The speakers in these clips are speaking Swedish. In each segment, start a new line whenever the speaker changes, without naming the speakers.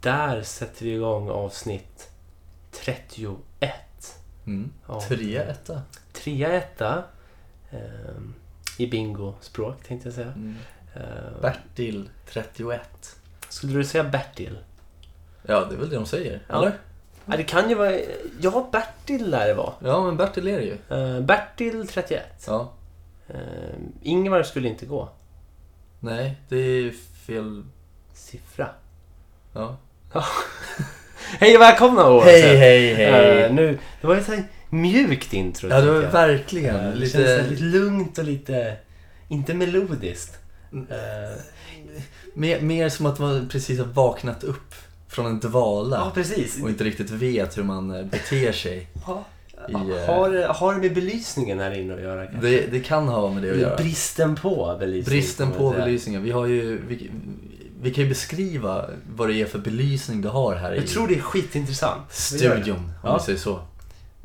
där sätter vi igång avsnitt 31.
Mm.
av
Tre etta.
Trea etta. ehm, I bingospråk tänkte jag säga.
Mm.
Ehm,
Bertil 31.
skulle du säga Bertil?
Ja, det är väl det de säger?
Ja.
Eller?
Ja, det kan ju vara... Ja, Bertil lär det vara.
Ja, men Bertil är det ju.
Ehm, Bertil 31.
Ja.
Ehm, Ingvar skulle inte gå.
Nej, det är fel...
Siffra.
Ja.
Hej och välkomna Oavsett.
hej,
Eh, nu, det var ett så här mjukt intro.
Ja, det var
tycker jag.
verkligen
Eh, det
lite...
kändes så här lite lugnt och lite... Inte melodiskt.
Mm.
Eh,
Mer, mer som att man precis har vaknat upp från en dvala.
Ja, precis.
och inte riktigt vet hur man eh, beter sig.
Ja.
I, eh,
Har, har det med belysningen här inne att göra kanske?
Det, det kan ha med det att
Eller
göra.
bristen på belysning.
Bristen
kan man
på
säga.
belysningen. Vi, har ju, vi, vi kan ju beskriva vad det är för belysning du har här i
Jag tror det är skitintressant. Vi gör det.
studion, om
Ja.
vi säger så.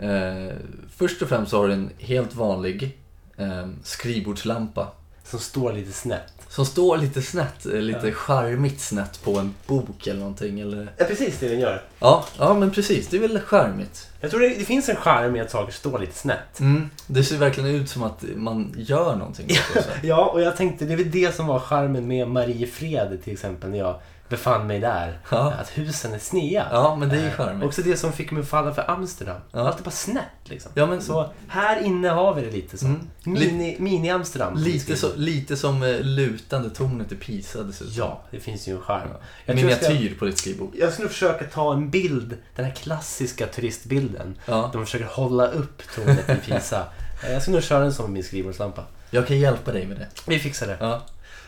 Eh, först och främst så har du en helt vanlig eh, skrivbordslampa.
Som står lite snett.
Som står lite snett, eh, lite
Ja.
charmigt snett på en bok eller någonting. Eller...
Ja, precis det den gör.
Ja, ja, men precis. Det är väl charmigt.
Jag tror det, det finns en charm i att saker står lite snett.
Mm. Det ser verkligen ut som att man gör någonting. så att säga.
Ja, och jag tänkte det är väl det som var charmen med Mariefred till exempel när jag befann mig där.
Ja.
Att husen är snea.
Ja, men det är ju
Eh,
charmigt.
Också det som fick mig att falla för Amsterdam.
Ja.
Allt är bara snett liksom.
Ja, men
Så här inne har vi det lite så.
Mm.
Mini, mini-Amsterdam.
Lite, så, lite som eh, lutande tornet i Pisa dessutom.
Ja, det finns ju en charm. Jag tror jag, ska,
Miniatyr på ditt skrivbord.
jag skulle försöka ta en bild, den här klassiska turistbilden.
Ja.
De försöker hålla upp tornet i Pisa. Eh, Jag skulle nog köra en sån med min skrivbordslampa.
Jag kan hjälpa dig med det.
Vi fixar det.
Ja.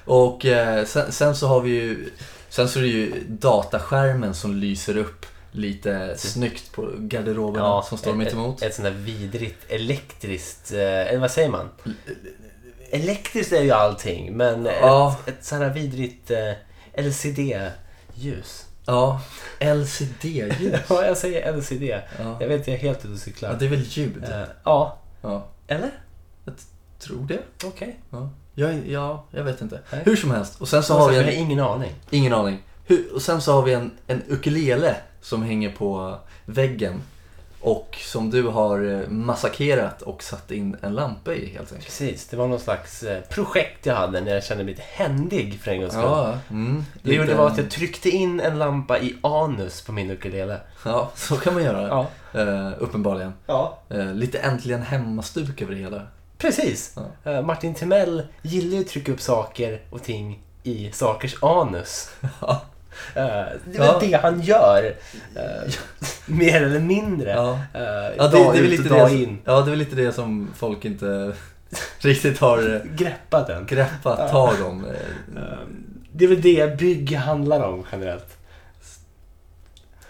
Och eh, sen, sen så har vi ju... Sen så är det ju dataskärmen som lyser upp lite snyggt på garderoberna som står
ett-
mitt emot.
Ett, ett sånt där vidrigt elektriskt, eh, eller vad säger man? Elektriskt är ju allting, men
Ja.
ett, ett sånt här vidrigt eh, LCD-ljus.
Ja, LCD-ljus.
Ja, jag säger LCD.
Ja.
Jag vet, jag är helt ute och
ja,
cyklar.
det är väl ljud?
Eh, Ja,
Ja,
eller?
tror det.
Okej.
Ja, jag, ja, jag vet inte.
Nej.
Hur som helst. Och sen så
Så
har vi
jag
en...
har ingen aning.
Ingen aning. Hur, och sen så har vi en, en ukulele som hänger på väggen. Och som du har eh, massakrerat och satt in en lampa i helt enkelt.
Precis, det var någon slags eh, projekt jag hade när jag kände mig lite händig för en gångs skull.
Ja, mm,
Det jag
lite-
gjorde var att jag tryckte in en lampa i anus på min ukulele.
Ja, så kan man göra.
Ja.
Eh, uppenbarligen.
ja.
Eh, lite äntligen hemmastuk över det hela.
Precis. Eh, Martin Timell gillar ju att trycka upp saker och ting i sakers anus.
Ja.
Eh, det är
Ja.
väl det han gör. eh, mer eller mindre.
Ja.
Eh,
Ja, det,
dag
det, är väl
ut och
lite
dag
det, som-
in.
ja, det är väl lite det som folk inte riktigt har eh,
Greppa den.
greppat tag om. Eh,
Eh, det är väl det bygg handlar om generellt.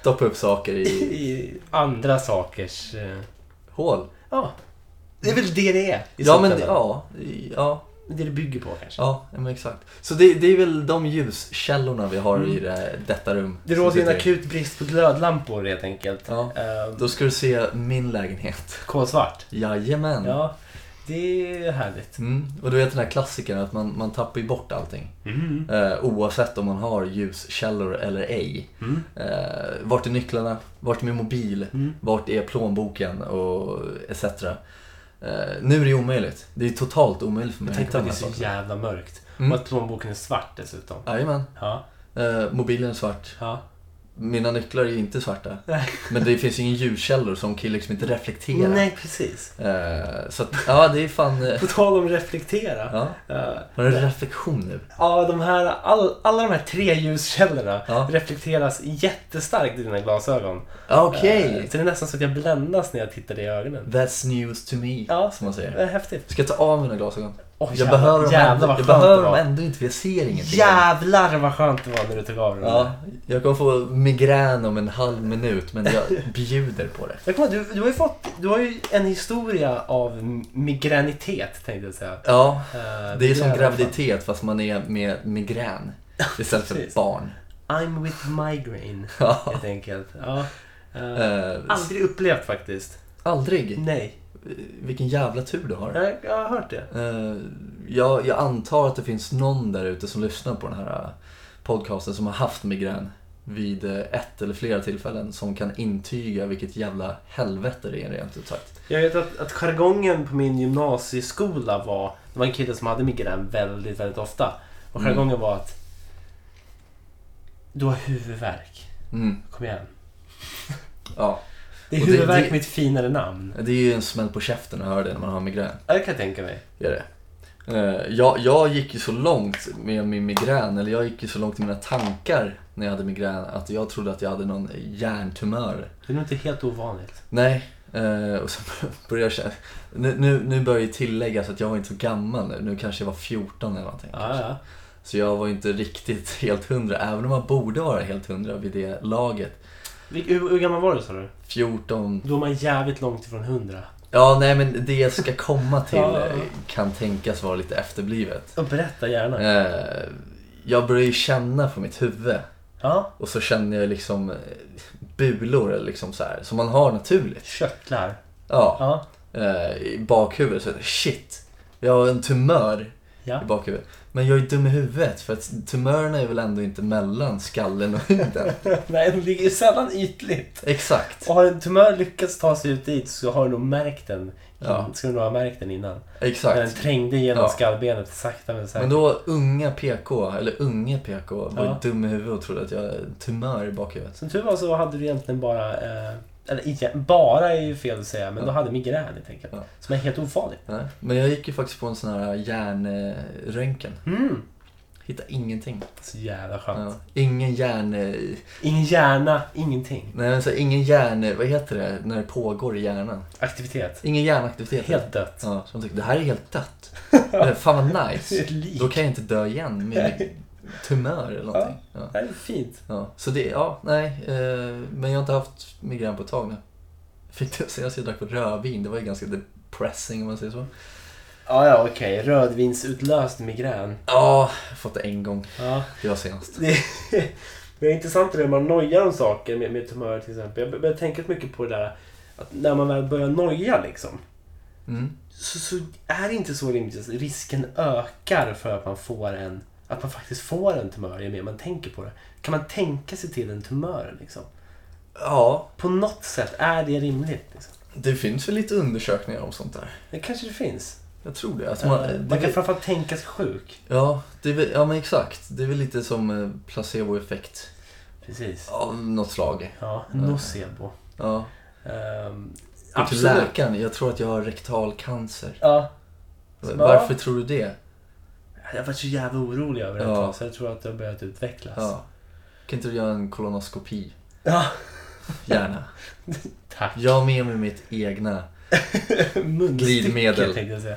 Stoppa upp saker i
I andra sakers... eh,
hål.
ja. Det är väl det det är. i
Ja, men
slutändan.
ja, i- ja,
Det det bygger på kanske.
Ja, men exakt. Så det, det är väl de ljuskällorna vi har i det, detta rum.
Mm. Det
som
råder ju en
sitter i.
akut brist på glödlampor helt enkelt.
Ja.
Eh,
Då ska du se min lägenhet.
Kolsvart.
Jajamän.
Ja, det är härligt.
Mm. Och du vet den här klassikern att man, man tappar ju bort allting.
Mm.
Eh, oavsett om man har ljuskällor eller ej.
Mm.
Eh, vart är nycklarna? Vart är min mobil?
Mm.
Vart är plånboken? Och etc. Eh, nu är det ju omöjligt. Det är ju totalt omöjligt för mig
Jag tänkte att det
hitta
är
de här
så
sakerna.
jävla mörkt.
Mm.
Och att plånboken är svart dessutom.
Jajamän.
Ja,
Eh, mobilen är svart.
ja.
Mina nycklar är ju inte svarta.
Nej.
Men det finns ju ingen ljuskällor som kan liksom inte reflektera.
precis.
Eh, så att, ja det är fan... eh,
På tal om reflektera.
Ja.
eh,
Har du en reflektion nu?
Ja, de här, all, alla de här tre ljuskällorna
Ja.
reflekteras jättestarkt i dina glasögon.
Ja, Okej!
Eh, Så det är nästan så att jag bländas när jag tittar dig i ögonen.
That's news to me,
Ja.
som man säger.
Det är häftigt.
Ska jag ta av mina glasögon?
Åh,
jag
jävlar-
behöver dem,
jävlar
ändå,
vad
jag
skönt
behöver
det var.
dem ändå inte, för jag ser ingenting.
Jävlar vad skönt det var när du tog av dig dem.
Ja, jag kommer få migrän om en halv minut, men jag bjuder på det.
Jag kommer, ihåg, du, du, har ju fått, du har ju en historia av m- migränitet tänkte jag säga.
Ja,
Eh,
det är som
jävla
graviditet fast man är med migrän istället för
Precis.
barn.
fan. I'm with migraine
Ja.
helt enkelt. Ja. Eh,
Eh,
aldrig upplevt faktiskt.
aldrig.
Nej.
Vilken jävla tur du har.
Jag, jag har hört det.
Eh, jag, jag antar att det finns någon där ute som lyssnar på den här eh, podcasten som har haft migrän. vid eh, ett eller flera tillfällen som kan intyga vilket jävla helvete det är rent ut sagt.
Jag vet att, att jargongen på min gymnasieskola var... Det var en kille som hade migrän väldigt, väldigt ofta. Och jargongen var att... Du har huvudvärk.
Mm,
Kom igen.
ja.
Det är
Och det-
huvudvärk
det-
mitt finare namn.
Det är ju en smäll på käften att höra det när man har migrän.
Ja, det kan jag tänka mig.
Det är det. Eh, Jag, jag gick ju så långt med min migrän, eller jag gick ju så långt i mina tankar när jag hade migrän att jag trodde att jag hade någon hjärntumör.
Det är nog inte helt ovanligt.
Nej, eh, och så började jag känna... Nu, nu, nu börjar ju tilläggas att jag var inte så gammal nu, nu kanske jag var 14 eller någonting.
Ja, ja.
Så jag var inte riktigt helt hundra, även om man borde vara helt hundra vid det laget.
Vil- Hur, hur gammal var du sa du?
14...
Då är man jävligt långt ifrån 100.
Ja, nej men det jag ska komma till
Ja.
eh, kan tänkas vara lite efterblivet.
Och berätta gärna.
Eh, jag började ju känna på mitt huvud
Ja.
och så kände jag liksom eh, bulor eller liksom så här, som man har naturligt.
Körtlar.
Ja,
Ja.
eh, i bakhuvudet. Så jag, shit, jag har en tumör
Ja.
i bakhuvudet. Men jag är dum i huvudet för att tumörerna är väl ändå inte mellan skallen och huden.
Nej, de ligger ju sällan ytligt.
Exakt,
Och har en tumör lyckats ta sig ut dit så har du nog märkt den.
Ja.
Skulle du nog ha märkt den innan. Men den
exakt.
trängde genom
Ja.
skallbenet sakta men säkert.
Men då unga PK, eller unge PK, var
Ja.
ju dum i huvudet och trodde att jag hade en tumör i bakhuvudet.
Som tur var så hade du egentligen bara... Eh, eller egent- bara är ju fel att säga, men du hade migrän helt enkelt.
Ja.
Som är helt ofarlig.
Nej. Men jag gick ju faktiskt på en sån här hjärnröntgen.
Mm.
Hittade ingenting.
Så jävla skönt.
Ja. Ingen hjärn... eh,
Ingen hjärna, ingenting.
Nej, alltså, ingen hjärn... Vad heter det när det pågår i hjärnan?
Aktivitet.
Ingen hjärnaktivitet.
Helt dött.
Ja, så de tyckte det här är helt dött. Men Fan vad
Det är
nice.
ett lik.
Då kan jag inte dö igen med tumör eller någonting. Ja.
Det här är fint.
Ja. Så det, ja, nej. Eh, men jag har inte haft migrän på ett tag nu. Fick det senast jag drack rödvin. Det var ju ganska depressing om man säger så.
Ja, ja, okej. Rödvinsutlöst migrän.
Ja, jag har fått det en gång.
Ja.
Det var senast.
Det, det är intressant det där man nojar om saker med, med tumörer till exempel. Jag börjar tänka mycket på det där att när man väl börjar noja liksom.
Mm.
Så, så är det inte så rimligt. Risken ökar för att man får en att man faktiskt får en tumör ju mer man tänker på det. Kan man tänka sig till en tumör liksom?
Ja,
På något sätt är det rimligt. Liksom.
det finns väl lite undersökningar om sånt där.
Det kanske det finns.
Jag tror det. Att
Man,
man, det
man kan
vi-
framförallt tänka sig sjuk.
Ja, det är väl, ja men exakt. Det är väl lite som eh, placeboeffekt
Precis.
av något slag.
Ja, nocebo.
Ja.
Ehm,
Gå till läkaren, jag tror att jag har rektalcancer.
Ja.
V-
Ja.
Varför tror du det?
Jag har varit så jävla orolig över det ett
Ja.
tag så jag tror att det har börjat utvecklas.
Ja. Kan inte du göra en kolonoskopi?
Ja,
Gärna.
tack.
Jag har med mig mitt egna.
Munstycke,
Glidmedel.
tänkte jag säga.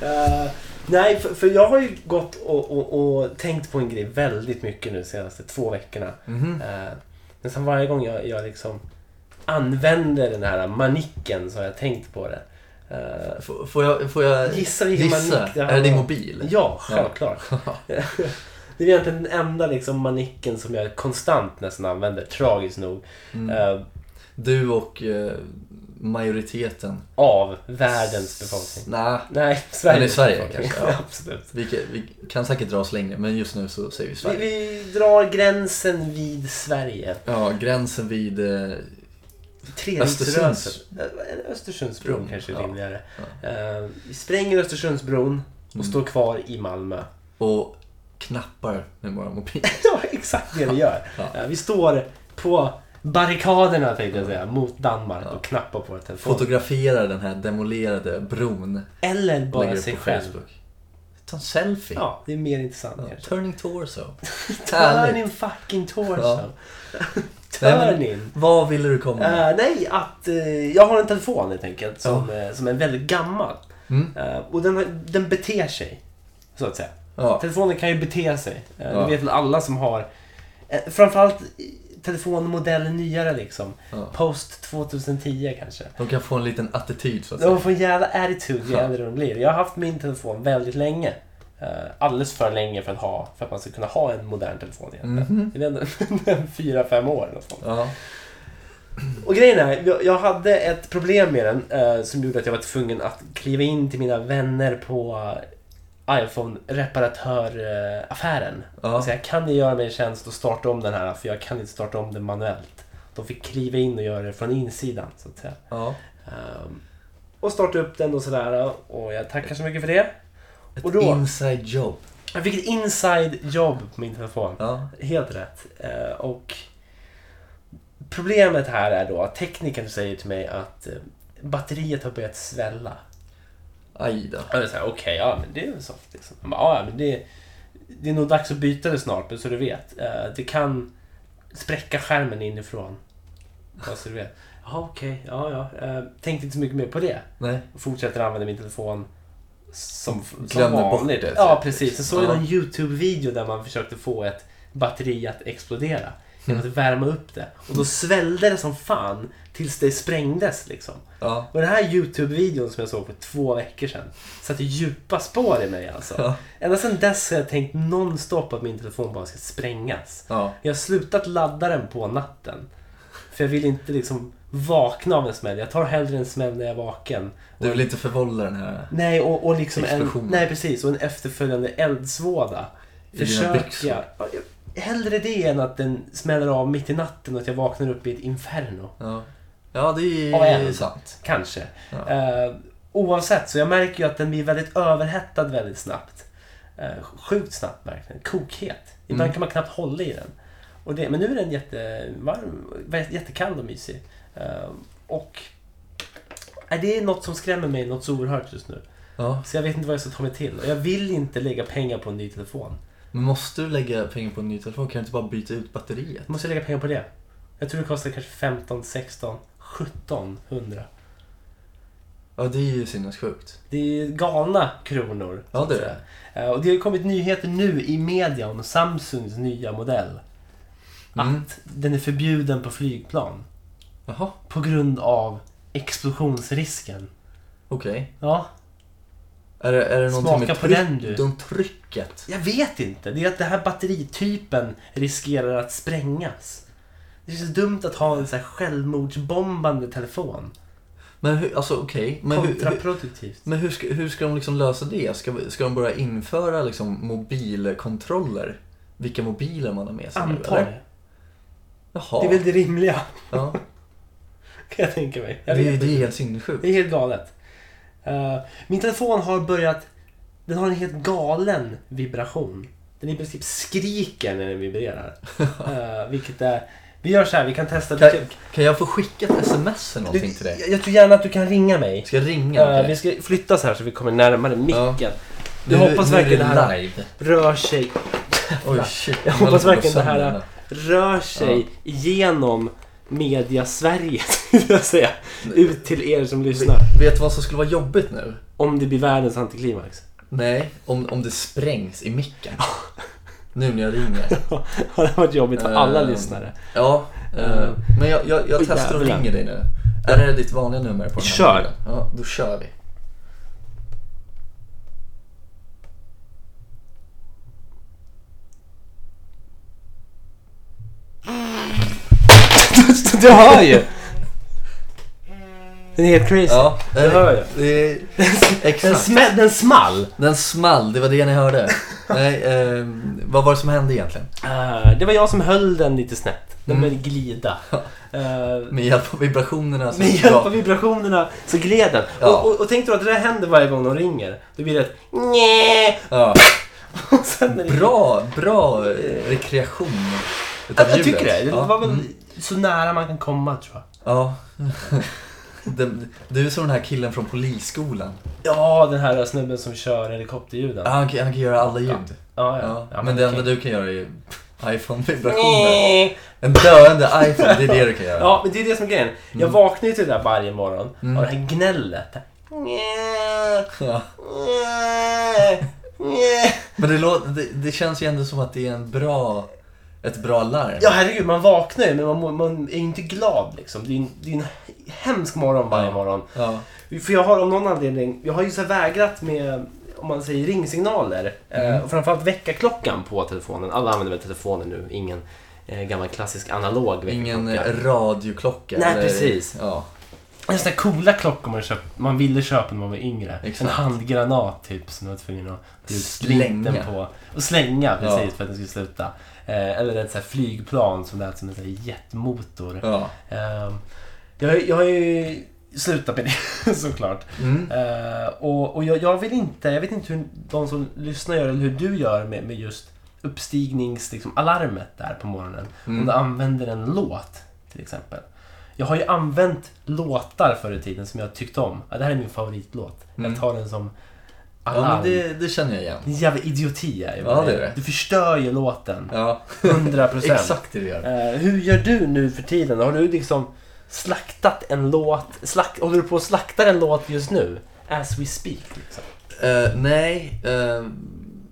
Eh, nej, för, för jag har ju gått och, och, och tänkt på en grej väldigt mycket nu de senaste två veckorna.
Mhm.
Eh, men sen varje gång jag, jag liksom använder den här manicken så har jag tänkt på det. Eh,
F- Får jag, får jag
gissa vilken
gissa?
manick det
Är det din
var.
mobil?
Ja, självklart. det är egentligen den enda liksom manicken som jag konstant nästan använder, tragiskt nog.
Mm.
Eh,
Du och eh, majoriteten.
av världens befolkning.
Nej,
Nej, Sveriges
Eller Sverige
befolkning.
kanske, ja.
Absolut.
vi, kan- vi kan säkert dra oss längre men just nu så säger vi
Vi,
Sverige.
vi drar gränsen vid Sverige.
Ja, gränsen vid... eh,
Treriksrörelsen. Eh, Östersundsbron
Bron,
kanske är
ja. Mm.
rimligare. Eh, vi spränger Östersundsbron och står kvar i Malmö.
Och knappar med våra mobiler.
ja, exakt det vi gör. Eh, vi står på barrikaderna tänkte jag säga, mot Danmark och knappar på våra telefoner.
Fotograferar den här demolerade bron.
Eller bara
lägger upp
sig
på
själv.
Facebook. Ta en selfie.
Ja, det är mer intressant
Ja,
kanske.
Turning torso.
Turn
Härligt.
in fucking torso.
Ja. Nej,
Turn
men-
in.
Vad ville du komma med?
Eh, nej, att eh, jag har en telefon helt enkelt som, eh, som är väldigt gammal.
Mm.
Eh, och den, har- den beter sig, så att säga.
Ja.
Telefonen kan ju bete sig. Eh,
Ja.
Det vet väl alla som har... eh, framförallt i- telefonmodell nyare liksom.
Ja.
Post 2010 kanske.
De kan få en liten attityd så att säga.
De får en jävla attitude ju äldre de blir. Jag har haft min telefon väldigt länge. Eh, alldeles för länge för att, ha, för att man ska kunna ha en modern telefon egentligen.
Mhm.
Det är ändå 4-5 år eller något sånt.
Ja.
Och grejen är, jag- jag hade ett problem med den eh, som gjorde att jag var tvungen att kliva in till mina vänner på iPhone-reparatöraffären.
Ja.
Så jag kan ni göra mig en tjänst och starta om den här? För jag kan inte starta om den manuellt. De fick kliva in och göra det från insidan så att säga.
Ja.
Ehm, och starta upp den och sådär. Och jag tackar så mycket för det.
Ett
Och då-
inside job.
Jag fick ett inside jobb på min telefon.
Ja.
Helt rätt. Eh, Och problemet här är då att teknikern säger till mig att eh, batteriet har börjat svälla.
Aj då.
Och jag säger okej, ja men det är väl soft liksom. Han bara, "Ja, ja, men det, det är nog dags att byta det snart, så du vet. Eh, Det kan spräcka skärmen inifrån. Bara så du vet. Jaha okej, ja ja. Eh, Tänkte inte så mycket mer på det.
Nej.
Fortsätter använda min telefon som, som
Glömmer bort
vanligt.
det,
Ja,
typ.
precis. Jag såg
Ja.
ja. en YouTube-video där man försökte få ett batteri att explodera. Genom
Mm.
att värma upp det. Och då svällde det som fan tills det sprängdes liksom.
Ja.
Och den här YouTube-videon som jag såg för två veckor sedan satte djupa spår i mig alltså.
Ja.
Ända sedan dess har jag tänkt nonstop att min telefon bara ska sprängas.
Ja.
Jag har slutat ladda den på natten. För jag vill inte liksom vakna av en smäll. Jag tar hellre en smäll när jag är vaken.
Du vill inte förvålla den här
Nej, och, och liksom en,
Explosionen.
nej, precis, och en efterföljande eldsvåda.
I dina
Försöker
byxor.
jag. Ja, jag- Hellre det än att den smäller av mitt i natten och att jag vaknar upp i ett inferno.
Ja, ja det
Av
är
en.
sant.
Kanske.
Ja.
Eh, oavsett, så jag märker ju att den blir väldigt överhettad väldigt snabbt. Eh, sjukt snabbt verkligen. Kokhet. Ibland
Mm.
kan man knappt hålla i den. Och det, men nu är den jättevarm, vä- jättekall och mysig. Eh, och nej, det är något som skrämmer mig något så oerhört just nu.
Ja.
Så jag vet inte vad jag ska ta mig till. Och jag vill inte lägga pengar på en ny telefon.
Men måste du lägga pengar på en ny telefon? Kan du inte bara byta ut batteriet?
Måste jag lägga pengar på det? Jag tror det kostar kanske 15, 16, 17 hundra.
Ja, det är ju sinnessjukt.
Det är galna kronor.
Ja,
så att
det är
säga. Eh, Och det har ju kommit nyheter nu i media om Samsungs nya modell. Att
Mm.
den är förbjuden på flygplan.
Jaha,
På grund av explosionsrisken.
okej.
Ja,
Är det, är det någonting
Smaka
med
på
tryck,
den, du.
de trycket?
jag vet inte. Det är att den här batteritypen riskerar att sprängas. Det känns dumt att ha en så här självmordsbombande telefon.
Men hur, alltså okej. Men, hur, hur,
Kontraproduktivt.
men hur, ska, hur ska de liksom lösa det? Ska, vi- ska de börja införa liksom mobilkontroller? Vilka mobiler man har med sig nu
Antar
eller?
jag.
Jaha.
Det är väl det rimliga,
ja.
kan jag tänka mig.
det,
Jag
är-
vet
det är
inte.
helt sinnessjukt.
Det är helt galet. Eh, min telefon har börjat... Den har en helt galen vibration. Den i princip skriker när den vibrerar. Eh, vilket är... Vi gör så här, vi kan testa.
Kan, kan jag få skicka ett sms eller
Du,
någonting till dig?
jag, jag tror gärna att du kan ringa mig.
Ska jag ringa?
Eh,
Okej.
vi ska flytta så här så vi kommer närmare micken.
Nu-
Jag hoppas
nu är
verkligen det här
live.
rör sig,
Oj, shit.
Jag
höll
hoppas
på att
verkligen det här-
gå sönder.
rör sig genom media-Sverige, skulle jag säga. Ut till er som lyssnar.
Vet du vad som skulle vara jobbigt nu?
Om det blir världens antiklimax.
Nej, om, om det sprängs i micken. nu när jag ringer.
Ja, det har varit jobbigt för alla
Ehm,
lyssnare.
Ja, eh,
Mm.
men jag, jag, jag
Oj,
testar och
jävlar.
ringer dig nu. Är det ditt vanliga nummer på den här
Kör.
mobilen? Ja, då kör vi.
Du hör ju! Den är helt crazy.
Ja, eh,
Det hör jag.
Det är,
den,
exakt.
smä- den small!
Den small, det var det ni hörde. Nej, eh, vad var det som hände egentligen?
Eh, det var jag som höll den lite snett. Den
Mm.
började glida. Eh,
Med hjälp av vibrationerna. som
med hjälp
drar-
av vibrationerna så gled den.
Ja.
Och, och, och tänk då att det där händer varje gång de ringer. Då blir det ett njä.
ja.
Och sen när det-
Bra, bra eh, rekreation utav
Jag, jag tycker
ljudet.
det. Det
Ja.
var väl
Mm.
så nära man kan komma tror jag.
Ja. Den- Du är som den här killen från polisskolan.
Ja, den här snubben som kör helikopterljuden.
Han kan, han kan göra alla ljud.
Ja, ja.
Ja.
Ja,
men det
okej.
enda du kan göra är iPhone-vibrationer.
Njä.
En döende iPhone, det är det du kan göra.
Ja, men det är det som är grejen. Jag vaknar ju till det där varje morgon
Mm.
av det här gnället. Njä.
Ja.
Njä. Njä.
Men det, låter, det, det känns ju ändå som att det är en bra, ett bra larm.
Ja, herregud, man vaknar ju men man, mår- man är ju inte glad liksom. Det är, en, det är en hemsk morgon varje
Ja.
morgon.
Ja.
För jag har av någon anledning, jag har ju så här vägrat med, om man säger ringsignaler.
Mm.
Eh, och framförallt väckarklockan på telefonen. Alla använder väl telefonen nu, ingen eh, gammal klassisk analog
Ingen
väckarklocka.
eh, radioklocka.
Nej, precis.
Ja.
En sån där coola klockor man, köpt, man ville köpa när man var yngre. En
Exakt.
handgranat typ som man var tvungen att dra ut
Slänga.
glimten på. Och slänga precis
Ja.
för att den skulle sluta. Eh, eller ett sånt här flygplan som lät som en sån här jetmotor.
Ja.
Eh, jag, jag har ju slutat med det såklart.
Mm.
Eh, och och jag, jag vill inte, jag vet inte hur de som lyssnar gör eller hur du gör med, med just uppstigningsalarmet liksom, alarmet där på morgonen.
Mm.
Om du använder en låt till exempel. Jag har ju använt låtar förr i tiden som jag tyckt om. Ja, det här är min favoritlåt.
Mm.
Jag tar den som
Ja, men
alarm. det...
det, det känner jag igen.
En jävla idioti är ju
Ja, det är det.
Du förstör ju låten.
Ja,
100 procent.
exakt det du gör.
Eh, hur gör du nu för tiden? Har du liksom slaktat en låt? Slakt, håller du på att slakta en låt just nu? As we speak liksom.
Eh, nej, eh,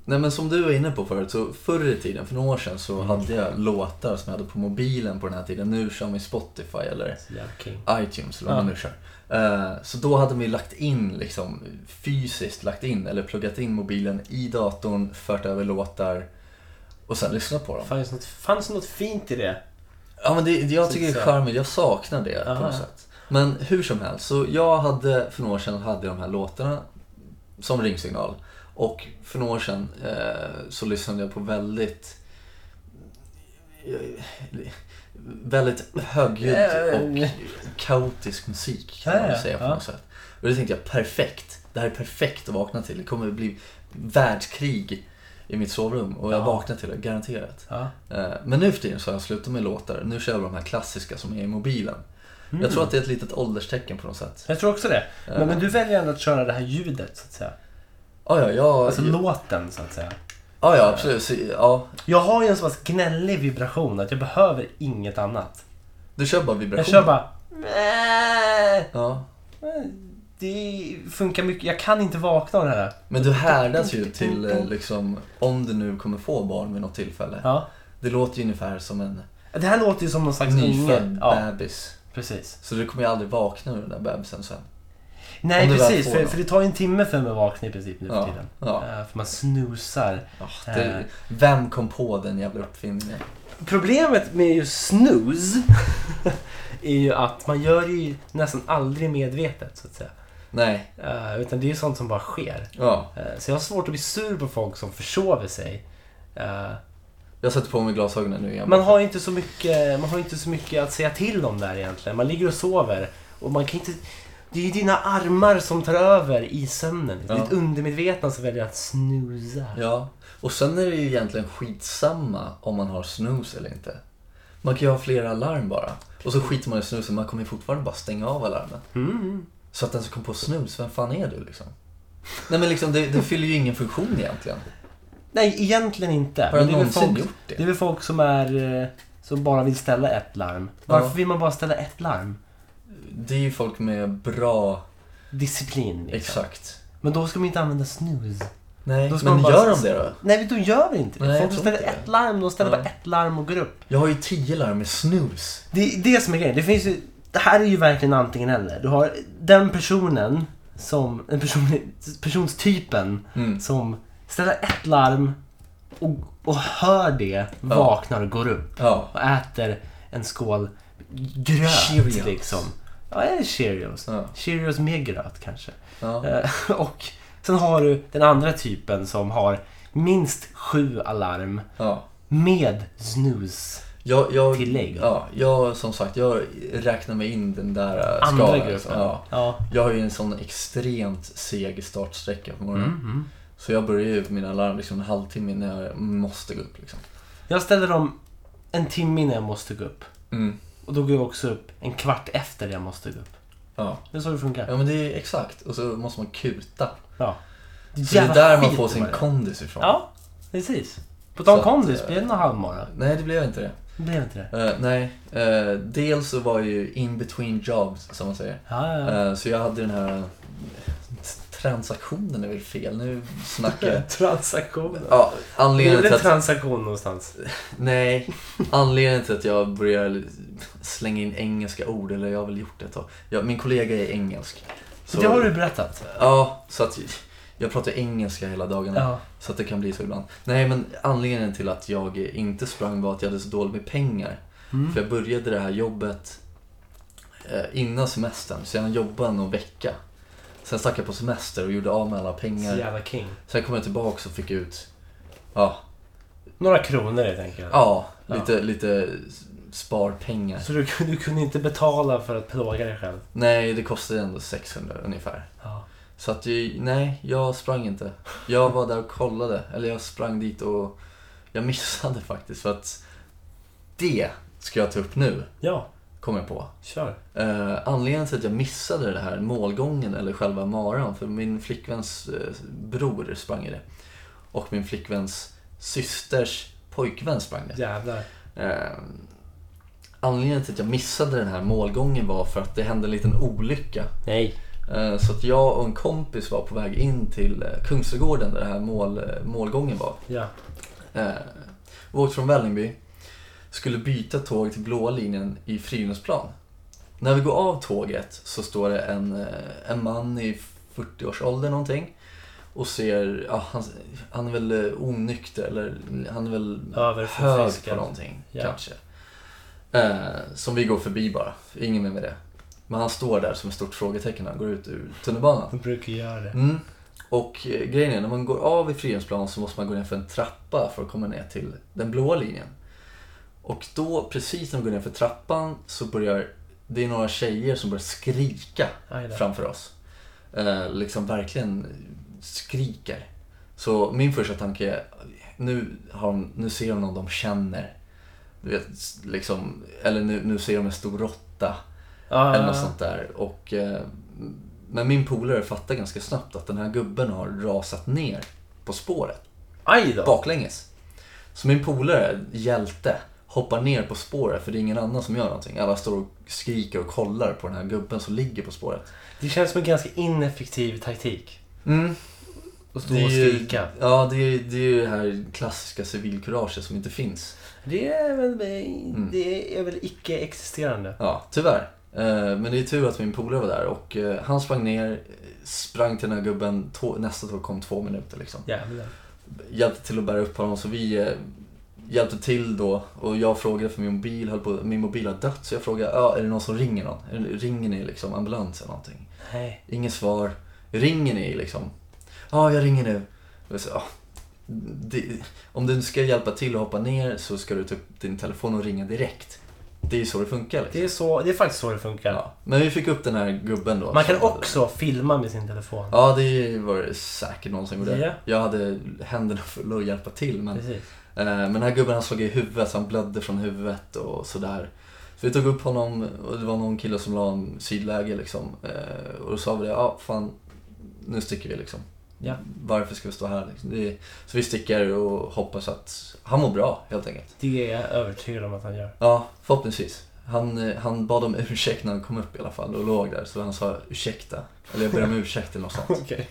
nej, men som du var inne på förut, så förr i tiden, för några år sedan, så hade jag låtar som jag hade på mobilen på den här tiden. Nu kör vi Spotify eller
Så jävla king.
iTunes eller vad man nu kör. Eh, Så då hade vi lagt in, liksom, fysiskt lagt in, eller pluggat in mobilen i datorn, fört över låtar och sen lyssnat på dem.
Fanns, något, fanns något fint i det?
Ja men det, jag
Så
tycker det
så
är
här.
charmigt, jag saknar det på
Aha.
något sätt. Men hur som helst, så jag hade för några år sedan hade de här låtarna som ringsignal. Och för några år sedan eh, så lyssnade jag på väldigt eh, väldigt högljudd och
Eh.
kaotisk musik kan man
Ja,
väl
ja,
säga på
ja.
något sätt. Och det tänkte jag, perfekt. Det här är perfekt att vakna till. Det kommer bli världskrig i mitt sovrum och jag
Ja.
vaknar till det, garanterat.
Ja.
Eh, Men nu för tiden så har jag slutat med låtar. Nu kör jag de här klassiska som är i mobilen. Jag tror att det är ett litet ålderstecken på något sätt.
Mm. Jag tror också det. Men, men du väljer ändå att köra det här ljudet så att säga.
Ja, ja, jag,
Alltså låten så att säga.
ja, ja absolut. Så, ja,
Jag har ju en så pass gnällig vibration att jag behöver inget annat.
du kör bara
Jag
vibrationer.
kör bara...
Ja.
Det funkar mycket. Jag kan inte vakna av det här.
Men du härdas ju till eh, liksom, om du nu kommer få barn vid något tillfälle.
Ja.
Det låter ju ungefär som en
Det här låter ju som någon slags
nyfödd
unge. Ja,
bebis.
precis.
Så du kommer ju aldrig vakna ur den där bebisen sen.
Nej
Om du väl
precis,
får
för,
dem.
för det tar ju en timme för mig att vakna i princip nu för
Ja,
tiden.
ja.
Eh, För man snoozar.
Ja, det, vem kom på den jävla uppfinningen?
Problemet med just snooze är ju att man gör det ju nästan aldrig medvetet så att säga.
Nej.
Eh, Utan det är ju sånt som bara sker.
Ja.
Eh, Så jag har svårt att bli sur på folk som försover sig. Eh,
Jag sätter på mig glasögonen nu igen.
Man har ju inte så mycket, man har ju inte så mycket att säga till om där egentligen. Man ligger och sover och man kan inte... Det är ju dina armar som tar över i sömnen.
Ja.
Ditt undermedvetna som väljer att snooza.
Ja, och sen är det ju egentligen skitsamma om man har snus eller inte. Man kan ju ha flera alarm bara. Och så skiter man i snusen, man kommer ju fortfarande bara stänga av alarmen.
Mm.
Så att den som kom på snus, vem fan är du liksom? Nej men liksom, det, det fyller ju ingen funktion egentligen.
Nej, egentligen inte.
Har
Men
jag
det är väl
någonsin
folk,
gjort det?
Det är väl folk som är... eh, Som bara vill ställa ett larm. Varför
Ja.
vill man bara ställa ett larm?
Det är ju folk med bra,
Disciplin. Liksom.
exakt.
Men då ska man inte använda snooze.
Nej,
Då ska
men
man bara-
gör de det då?
Nej, då gör vi inte det.
Nej, jag
folk
tror
som ställer
inte det.
ett larm, de ställer
Nej.
bara ett larm och går upp.
Jag har ju tio larm med snus.
Det är det som är grejen. Det finns ju... Det här är ju verkligen antingen eller. Du har den personen som... Den person, personstypen
Mm.
som ställer ett larm och, och hör det, vaknar och går upp.
Ja.
och äter en skål gröt
Cheerios.
liksom. Ja, eller Cheerios.
Ja.
Cheerios med gröt kanske.
ja.
Eh, och sen har du den andra typen som har minst sju alarm
ja.
med snus.
Jag, jag,
Tillägg.
Ja, jag som sagt, jag räknar mig in den där eh,
Andra
skalan.
gruppen.
Ja.
Ja.
Jag har ju en sån extremt seg startsträcka på
Mm,
morgonen. Så jag börjar ju mina alarm liksom en halvtimme innan jag måste gå upp. Liksom.
Jag ställer dem en timme innan jag måste gå upp. Och då går jag också upp en kvart efter jag måste gå upp.
Ja.
Det är så det funkar.
ja, men det är exakt. Och så måste man kuta.
Ja.
Så det är
Jävla
där man
skit
får
vad
sin
det är.
kondis ifrån.
Ja, precis. På
Så
tal om
att,
kondis,
eh,
blir det någon halvmara?
Nej, det blev inte det.
Det blev inte det.
Eh, nej, Eh, dels så var jag ju in between jobs, som man säger.
Ja, ja.
Eh, så jag hade den här transaktionen är väl fel, nu snackar jag.
Transaktioner.
Ja, Eh, anledningen
Blev det
till
en
att
transaktion någonstans?
Nej, anledningen till att jag börjar slänga in engelska ord, eller jag har väl gjort det ett tag. Jag, min kollega är engelsk. Så,
Det har du berättat.
Ja, så att jag pratar engelska hela dagarna.
Ja.
Så att det kan bli så ibland. Nej, men anledningen till att jag Mm.
Mm.
inte sprang var att jag hade så dåligt med pengar. För jag började det här jobbet eh, innan semestern, så han jobbade någon vecka. Sen stack jag på semester och gjorde av med alla
Så
pengar.
jävla king.
Sen kom jag tillbaka och fick ut ja,
Några kronor helt enkelt.
ja,
Ja.
lite, lite sparpengar.
Så du, du kunde inte betala för att plåga dig själv?
Nej, det kostade ändå 600 ungefär.
Ja.
Så att jag, nej, jag sprang inte. Jag var där och kollade. Eller jag sprang dit och jag missade faktiskt. För att det ska jag ta upp nu,
Ja,
kom jag på.
kör.
Eh, anledningen till att jag missade det här målgången eller själva maran, för min flickväns eh, bror sprang i det. Och min flickväns systers pojkvän sprang det.
Jävlar.
Eh, anledningen till att jag missade den här målgången var för att det hände en liten olycka
Nej.
Eh, Så att jag och en kompis var på väg in till eh, Kungsträdgården där den här mål, eh, målgången var.
Ja.
Eh, Vi åkte från Vällingby, skulle byta tåg till blåa linjen i Fridhemsplan. När vi går av tåget så står det en, eh, en man i 40-årsåldern någonting och ser, ja, han, han är väl eh, onykter eller han är väl hög på
Överförfriskad.
någonting
Ja.
kanske. Eh, som vi går förbi bara, ingen mer med det. Men han står där som ett stort frågetecken när han går ut ur tunnelbanan.
De brukar göra det.
Mm. Och eh, grejen är, när man går av i Fridhemsplan så måste man gå ner för en trappa för att komma ner till den blåa linjen. Och då, precis när vi går ner för trappan, så börjar det är några tjejer som börjar skrika
Aj då.
framför oss. Eh, liksom verkligen skriker. Så min första tanke är, nu, har de, nu ser de någon de känner. Du vet, s- liksom, eller nu, nu ser de en stor råtta.
Ja,
Eller något sånt där. Och, eh, men min polare fattar ganska snabbt att den här gubben har rasat ner på spåret
Aj då.
baklänges. Så min polare, hjälte, hoppar ner på spåret för det är ingen annan som gör någonting. Alla står och skriker och kollar på den här gubben som ligger på spåret.
Det känns som en ganska ineffektiv taktik.
Mm.
Att stå och skrika.
Ja, det är, det är ju det här klassiska civilkuraget som inte finns.
Det är väl,
Mm.
det är väl icke-existerande.
Ja, tyvärr. Eh, Men det är tur att min polare var där och eh, han sprang ner, sprang till den här gubben, tå- nästa tåg kom två minuter liksom.
Jävlar.
hjälpte till att bära upp honom så vi eh, hjälpte till då och jag frågade för min mobil, höll på, min mobil har dött så jag frågade ja, är det någon som ringer någon? Är det- Ringer ni liksom ambulans eller någonting?
Nej.
Inget svar. Ringer ni liksom? Ja, jag ringer nu. Och Så, ja, det, om du ska hjälpa till att hoppa ner så ska du ta upp din telefon och ringa direkt. Det är ju så det funkar. Liksom.
Det är, så, det är faktiskt så det funkar.
Ja. Men vi fick upp den här gubben då.
Man kan
som-
också filma med sin telefon.
Ja, det var det säkert någon som gjorde.
Ja.
Jag hade händerna fulla att hjälpa till men
Precis.
Eh, Men den här gubben han slog i huvudet, så han blödde från huvudet och sådär. Så vi tog upp honom och det var någon kille som la en sidläge liksom. Eh, Och då sa vi det, ja ah, fan, nu sticker vi liksom.
Ja.
Varför ska vi stå här liksom? Det, så vi sticker och hoppas att han mår bra helt enkelt.
Det är jag övertygad om att han gör.
Ja, förhoppningsvis. Han, eh, han bad om ursäkt när han kom upp i alla fall och låg där. Så han sa ursäkta. Eller jag ber om ursäkt eller något sånt.
Okej.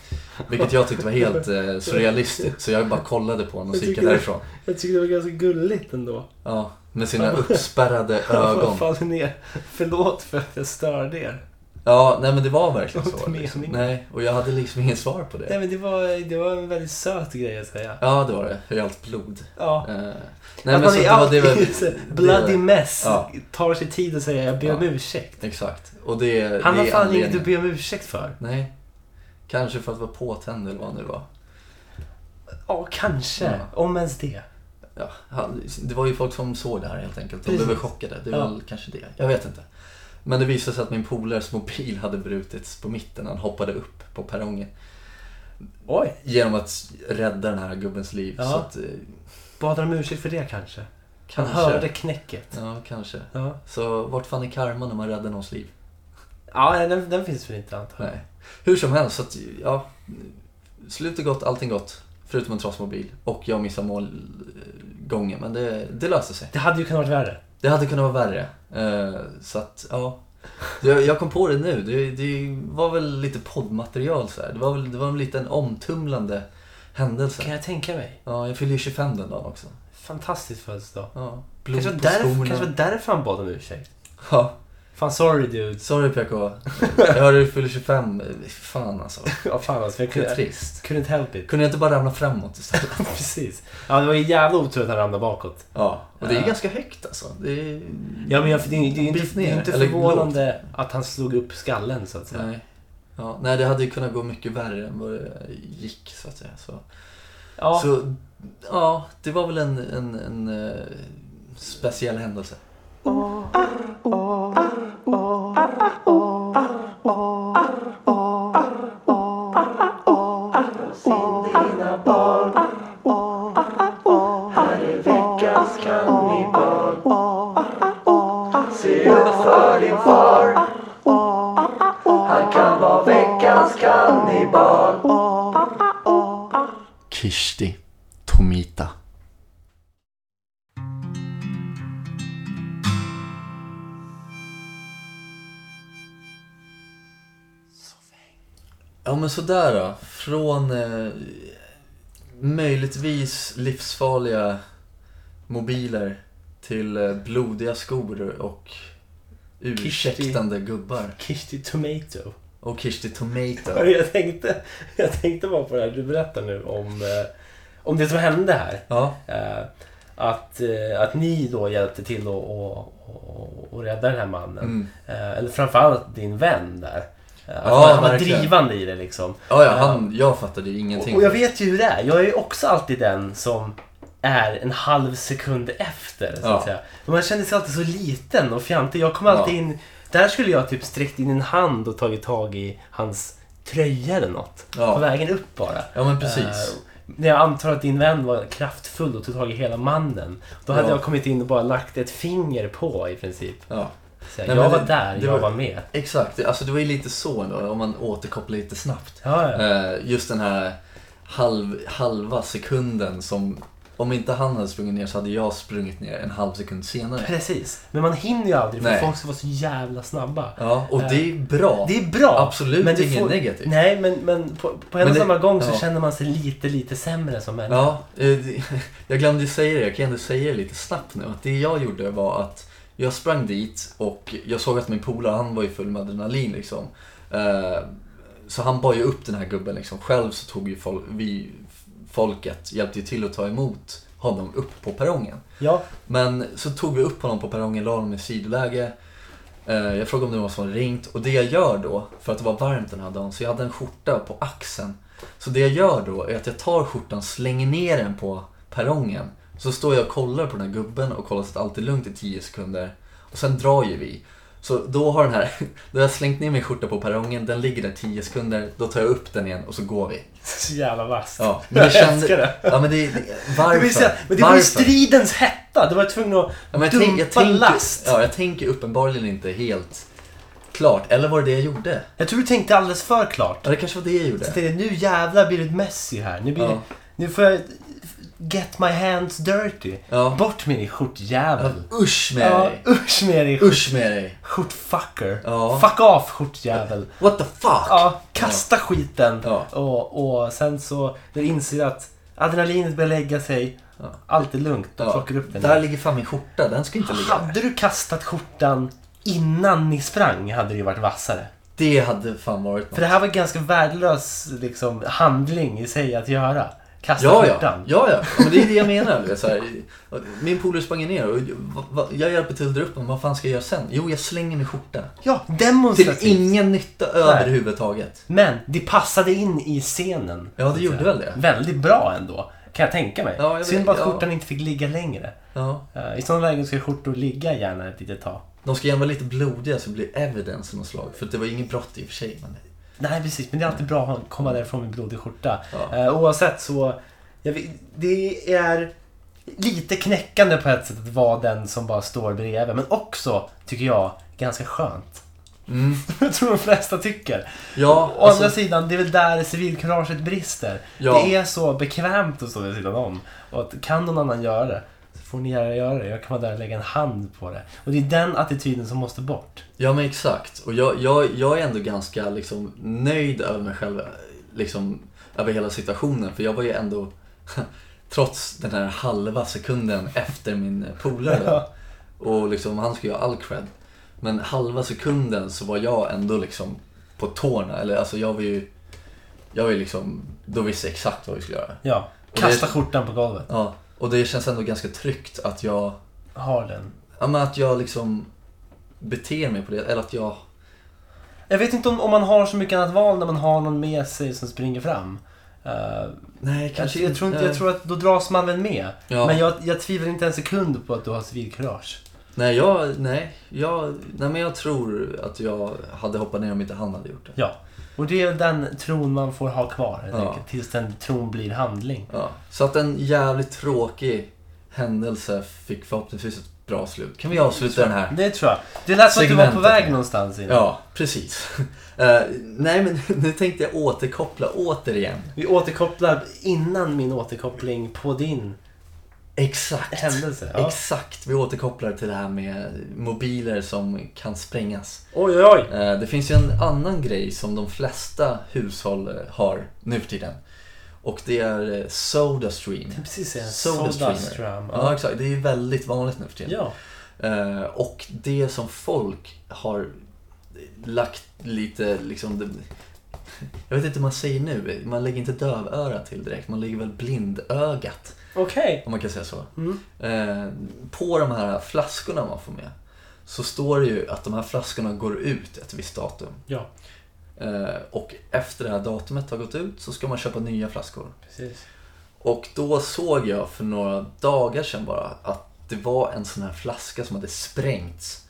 Vilket jag tyckte var helt eh, surrealistiskt. Så jag bara kollade på honom och så gick jag därifrån.
Jag tycker det var ganska gulligt ändå.
Ja, med sina uppspärrade ögon.
Vad fan är det? Förlåt för att jag störde er.
Ja, nej men det var verkligen
Det var
så.
inte
Liksom.
meningen.
Nej, och jag hade liksom ingen svar på det.
Nej men det var, det var en väldigt söt grej att säga.
Ja, det var det. Jag är allt blod.
Ja.
Eh, nej,
att
men
man
så
är
det var det
alltid
var,
så här,
det
bloody
var-
mess.
Ja.
Tar sig tid att säga jag ber om
Ja.
ursäkt.
Exakt. Och det,
Han har
det är
fan inget
anledningen.
att be om ursäkt för.
Nej. Kanske för att vara påtänd eller vad han nu var.
Ja, kanske.
Ja.
Om ens det.
Ja, han, det var ju folk som såg det här helt enkelt. De
Precis.
blev chockade. Det var
Ja.
väl kanske det. Jag vet inte. Men det visade sig att min polares mobil hade brutits på mitten. när Han hoppade upp på perrongen.
Oj.
Genom att rädda den här gubbens liv.
Ja.
Så att, eh,
Bad han om ursäkt för det kanske?
kanske.
Han hörde knäcket.
Ja, kanske.
Ja,
Så vart fan är karma när man räddar någons liv?
ja den, den finns väl inte antar jag.
Nej. Hur som helst, så att, ja. Slutet gott, allting gott. Förutom en trasmobil. Och jag missade målgången, men det, det löste sig.
Det hade ju kunnat vara värre.
Det hade kunnat vara värre. Eh, så att, ja. Jag, jag kom på det nu. Det, det var väl lite poddmaterial så här. Det var väl det var en liten omtumlande
Kan
händelse.
jag tänka mig.
Ja, jag fyllde ju 25 den dagen också.
Fantastisk födelsedag.
Ja. Blod
Kanske var,
på
därför,
skorna.
kanske var därför han bad om ursäkt.
Ja.
Fan sorry dude.
Sorry PK. Jag hörde du fyller 25. Fan alltså.
Ja, fan alltså. Jag
Det är
kunde,
trist.
couldn't help it.
Kunde jag inte bara ramla framåt istället?
Precis. Ja, det var ju jävla otur att han ramlade bakåt.
Ja, och det är
Ja.
ganska högt alltså. Det är...
Ja, men jag, det, är ju- det är ju
Bit
inte,
ner,
det är inte
eller
förvånande att han slog upp skallen så att säga.
Nej. Ja, nej, det hade ju kunnat gå mycket värre än vad det gick så att säga. Så,
Ja,
så ja, det var väl en, en, en eh, speciell händelse. Kirsti Tomita. Ja men sådär då. Från eh, möjligtvis livsfarliga mobiler till eh, blodiga skor och ursäktande gubbar.
Kirsti Tomato.
Och Kirsti
Hörru,
Tomato.
Jag tänkte, jag tänkte bara på det här du berättar nu om, eh, om det som hände här.
Ja,
Eh, Att, eh, att ni då hjälpte till att och, och, och rädda den här mannen.
Mm.
Eh, Eller framförallt din vän där. Eh, Att
Ja,
han var
verkligen.
drivande i det liksom.
ja, ja han, jag fattade ju
Och,
ingenting.
och jag vet ju hur det är. Jag är ju också alltid den som är en halv sekund efter. Så att
Ja.
säga. Men man känner sig alltid så liten och fjantig. Jag kommer alltid
Ja.
in... Där skulle jag typ sträckt in en hand och tagit tag i hans tröja eller något.
Ja.
På vägen upp bara.
Ja men precis.
Eh, när jag antar att din vän var kraftfull och tog tag i hela mannen. Då hade
Ja.
jag kommit in och bara lagt ett finger på i princip.
Ja,
Så här,
Nej,
jag
men
var
det-
där,
det
jag
var-
var, med.
exakt. Det- Alltså det var ju lite så ändå, om man återkopplar lite snabbt.
Ja, ja.
Eh, Just den här halv, halva sekunden som, om inte han hade sprungit ner så hade jag sprungit ner en halv sekund senare.
Precis. Men man hinner ju aldrig för
Nej.
folk ska vara så jävla snabba. Eh,
Ja, och det är bra.
Det är bra.
Absolut
det
inget negativt.
Nej, men, men på, på en
Men
och
det-
samma gång så
ja.
känner man sig lite, lite sämre som människa.
Ja, eh, det- jag glömde ju säga det, jag kan ändå säga det lite snabbt nu. Att det jag gjorde var att jag sprang dit och jag såg att min polare, han var ju full med adrenalin liksom. Eh, Så han bar ju upp den här gubben liksom. Själv så tog ju folk, vi, folket, hjälpte ju till att ta emot honom upp på perrongen.
Ja.
Men så tog vi upp honom på perrongen, la honom i sidoläge. Eh, Jag frågade om det var någon som hade ringt och det jag gör då, för att det var varmt den här dagen, så jag hade en skjorta på axeln. Så det jag gör då är att jag tar skjortan, slänger ner den på perrongen. Så står jag och kollar på den här gubben och kollar så att allt är lugnt i 10 sekunder. Och sen drar ju vi. Så då har den här, då har jag slängt ner min skjorta på perrongen, den ligger där 10 sekunder, då tar jag upp den igen och så går vi.
Så jävla vasst.
Ja,
men
men
jag
det kände-
älskar det.
Ja men det, det
Det
varför?
vill säga, men det var ju
Varför?
stridens hetta. Du var tvungen att
Ja, men jag, tänk,
dumpa
jag, tänker,
last.
ja, jag tänker uppenbarligen inte helt klart. Eller var det det jag gjorde?
Jag tror du tänkte alldeles för klart.
Ja, det kanske var det jag
Så
gjorde.
tänkte jag, nu jävlar blir det ett Messi här. Nu, blir
Ja.
det, nu får jag get my hands dirty.
Ja.
Bort med din skjortjävel.
Usch med
Ja,
dig!
usch med dig skjort-
Usch med dig!
skjortfucker.
Ja.
Fuck off skjortjävel.
What the fuck!
Ja, kasta skiten.
Ja.
Och, och sen så, när du inser att adrenalinet börjar lägga sig.
Ja.
Allt är lugnt, de
Ja,
plockar upp den.
Där
igen.
ligger fan min skjorta, den ska inte ligga där.
Hade du kastat skjortan innan ni sprang hade det ju varit vassare.
Det hade fan varit något.
För det här var en ganska värdelös liksom, handling i sig att göra. Kasta
Ja, ja. ja,
skjortan.
ja. ja men det är det jag menar. du vet, Så här. Min polare sprang ju ner och va- va- jag hjälper till att dra upp honom. Vad fan ska jag göra sen? Jo, jag slänger min skjorta.
Ja,
Till
demonstrativt.
ingen nytta överhuvudtaget.
Men det passade in i scenen.
Ja, det
så att
gjorde
säga.
väl det.
Väldigt bra ändå, kan jag tänka mig.
Ja, jag
Synd
vet-
bara att
ja.
skjortan inte fick ligga längre.
Ja.
Eh, I sådana lägen ska skjortor ligga gärna ett litet tag.
De ska gärna vara lite blodiga så det blir evidence av något slag. För det var inget brott i och för sig. Men...
Nej, precis. Men det är alltid bra att komma därifrån med blodig skjorta.
Ja.
Eh, oavsett så... Jag, vet- det är lite knäckande på ett sätt att vara den som bara står bredvid. Men också, tycker jag, ganska skönt.
Mm.
Jag tror de flesta tycker.
Ja,
Å andra
alltså,
sidan, det är väl där civilkuraget brister.
Ja.
Det är så bekvämt att stå vid sidan om. Och att kan någon annan göra det, så får ni gärna göra det. Jag kan vara där och lägga en hand på det. Och det är den attityden som måste bort.
ja men exakt. Och jag, jag, jag är ändå ganska liksom, nöjd över mig själv, liksom, över hela situationen. För jag var ju ändå, trots den här halva sekunden efter min polare. då. Och liksom, han ska ju ha all cred. Men halva sekunden så var jag ändå liksom på tårna. Eller alltså jag var ju... Jag var ju liksom... Då visste jag exakt vad vi skulle göra.
Ja.
Och
Kasta
det-
skjortan på golvet.
Ja. Och det känns ändå ganska tryggt att jag...
Har den.
Ja men att jag liksom beter mig på det. Eller att jag...
Jag vet inte om, om man har så mycket annat val när man har någon med sig som springer fram. Eh,
Nej, kanske
jag, jag, tror inte, jag tror att då dras man väl med.
Ja.
Men jag, jag tvivlar inte en sekund på att du har civilkurage.
Nej, jag, nej, jag, nej, men jag tror att jag hade hoppat ner om inte han hade gjort det.
Ja. Och det är väl den tron man får ha kvar helt
Ja.
enkelt, tills den tron blir handling.
Ja. Så att en jävligt tråkig händelse fick förhoppningsvis ett bra slut. Kan vi avsluta den här?
Det tror jag. Det lät som att du var på
Segmentet
väg
här.
någonstans innan.
Ja, precis. Eh, nej, men nu tänkte jag återkoppla återigen.
Vi återkopplar innan min återkoppling på din
Exakt.
händelse. Ja.
Exakt. Vi återkopplar till det här med mobiler som kan sprängas.
Oj, oj, oj.
Eh, Det finns ju en annan grej som de flesta hushåll eh, har nu för tiden. Och det är eh, Sodastream.
Det är precis en
Soda
Sodastream.
Ja,
Ja.
exakt. Det är ju väldigt vanligt nu för tiden.
ja.
Eh, Och det som folk har eh, lagt lite, liksom... det- Jag vet inte hur man säger nu. Man lägger inte dövöra till direkt. Man lägger väl blindögat,
Okej.
om man kan säga så.
Mm.
Eh, På de här flaskorna man får med så står det ju att de här flaskorna går ut ett visst datum.
Ja,
Eh, Och efter det här datumet har gått ut så ska man köpa nya flaskor.
precis.
Och då såg jag för några dagar sedan bara att det var en sån här flaska som hade sprängts.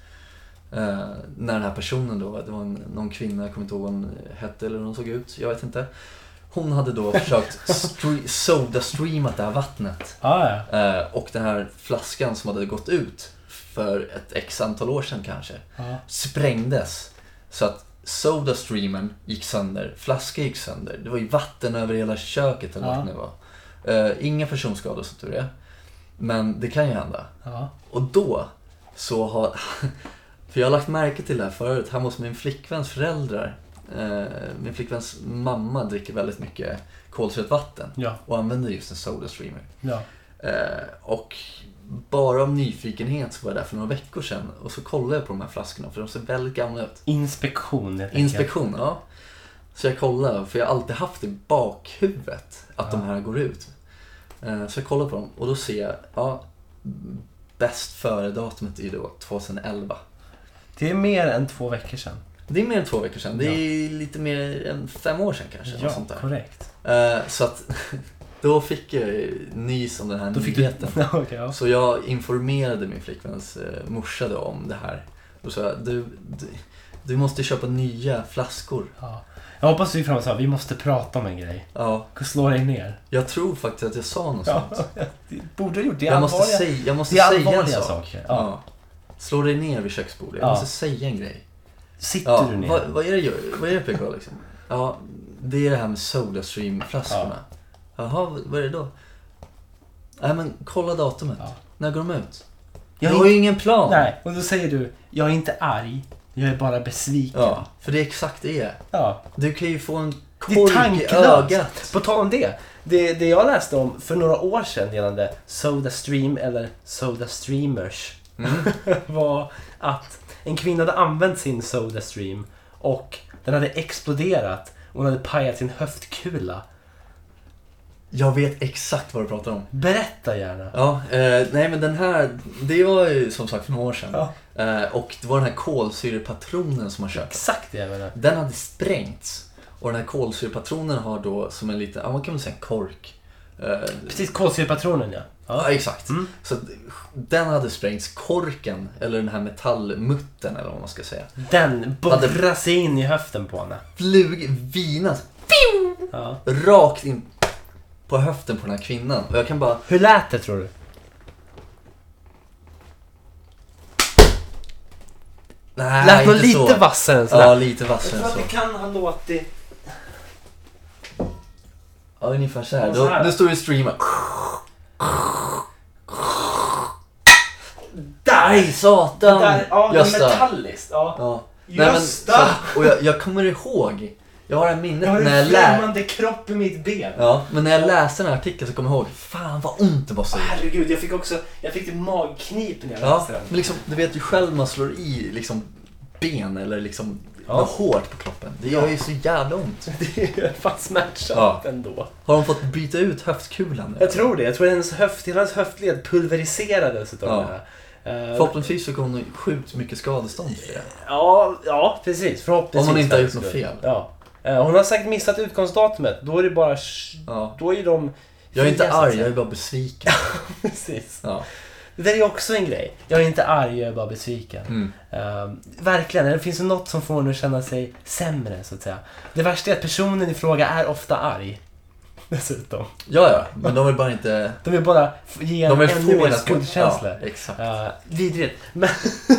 Eh, när den här personen då, det var en, någon kvinna, jag kommer inte ihåg vad hon hette eller hur hon såg ut, jag vet inte. Hon hade då försökt stre- sodastreamat det här vattnet.
Ah, ja.
Eh, och den här flaskan som hade gått ut för ett x antal år sedan kanske
ja.
sprängdes. Så att Sodastreamen gick sönder, flaskan gick sönder. Det var ju vatten över hela köket eller
Ja.
vad det nu var. Eh, inga personskador som tur är. Men det kan ju hända.
ja.
Och då så har... För jag har lagt märke till det här förut, hemma hos min flickväns föräldrar. Eh, min flickväns mamma dricker väldigt mycket kolsyrat vatten
Ja,
och använder just en Sodastreamer.
ja.
Eh, och bara av nyfikenhet så var jag där för några veckor sedan och så kollade jag på de här flaskorna för de ser väldigt gamla ut.
Inspektion helt enkelt.
Inspektion, ja. Så jag kollade, för jag har alltid haft i bakhuvudet att de här går ut. Eh, Så jag kollade på dem och då ser jag, ja, bäst före-datumet är ju då 2011.
Det är mer än två veckor sedan.
Det är mer än två veckor sedan, det är lite mer än fem år sedan kanske. något sånt där.
korrekt.
Eh, Så att då fick jag nys om den här
Då fick du...
nyheten.
Mm. Ja, okej, ja.
Så jag informerade min flickväns eh, morsa då om det här. Och sa du, du, du måste köpa nya flaskor.
Ja. Jag hoppas vi fram sa vi måste prata om en grej.
Ja,
Gå och Slå dig ner.
jag tror faktiskt att jag sa något sånt.
Det borde ha gjort det.
Jag måste,
allvarliga-
säga, jag måste
det är
säga en
allvarliga
sak.
saker. Ja.
Ja. Slå dig ner vid köksbordet. Jag
Ja.
måste säga en grej.
Sitter
Ja,
du ner?
vad, vad är det jag- vad är det PK liksom? Ja, det är det här med Sodastream-flaskorna. Jaha, vad- vad är det då? Nej men kolla datumet.
Ja.
När går de ut?
Jag
Jag
är
har ju ingen plan.
Nej, och då säger du, jag är inte arg, jag är bara besviken.
Ja, för det är exakt det. är.
Ja.
Du kan ju få en
Det är
kork i ögat.
tanklöst. På tal om det, det. Det jag läste om för några år sedan gällande Soda Stream eller Soda Streamers var att en kvinna hade använt sin Soda Stream och den hade exploderat och hon hade pajat sin höftkula.
Jag vet exakt vad du pratar om.
Berätta gärna.
Ja, eh, nej men den här, det var ju som sagt för några år sedan.
Ja.
Eh, och det var den här kolsyrepatronen som man köpte.
Exakt det jag menar.
Den hade sprängts. Och den här kolsyrepatronen har då som en liten, ja man kan väl säga en kork. Eh,
Precis, kolsyrepatronen ja.
ja, exakt.
Mm.
Så att den hade sprängts, korken, eller den här metallmuttern eller vad man ska säga.
Den borrar sig in i höften på henne.
Flug, vinas,
Ja.
rakt in på höften på den här kvinnan. Och jag kan bara
Hur lät det tror du?
Nej,
Lät hon
inte
lite
så.
vassare än så?
Ja, lite
Jag
vassare
tror
än
att
så.
det kan ha låtit...
Ja, ungefär så här.
Ja, så här.
Då, nu står det streama. Nej, satan!
Där, ja, det är
Gösta.
metalliskt. Ja.
Ja.
Gösta!
så- och jag, jag kommer ihåg, jag har det här minnet
Jag har
när
en
jag lä-
flämmande kropp i mitt ben.
Ja, men när jag läste den här artikeln så kommer jag ihåg, fan vad ont det var så.
Herregud, jag fick också... Jag fick det magknip när jag
Ja,
läste den.
men liksom, du vet ju själv man slår i liksom ben eller liksom
Ja.
något hårt på kroppen. Det gör ju så jävla ont.
Det är fan smärtsamt
Ja.
ändå.
Har de fått byta ut höftkulan nu?
Jag tror det. Jag tror hennes höft, hela hennes höftled pulveriserades utav
Ja.
det här. Eh,
Förhoppningsvis så kommer hon sjukt mycket skadestånd för det.
Ja, ja precis. Förhoppningsvis.
Om hon inte har
för
gjort
hennes
något
skull.
fel.
Ja. Eh, Hon har säkert missat utgångsdatumet. Då är det bara... sh-
Ja.
Då är de...
Jag är inte
fria, så att
arg,
säga.
jag är bara besviken.
Precis.
Ja.
Det där är också en grej. Jag är inte arg, jag är bara besviken.
Mm.
Ehm, verkligen, det finns ju något som får en att känna sig sämre så att säga. Det värsta är att personen i fråga är ofta arg. Dessutom.
ja, ja, men de vill bara inte...
De vill bara f- ge en
De vill
ännu
få
mer
en att...
skuldkänsla.
Ja, exakt.
Eh, vidrigt. Men,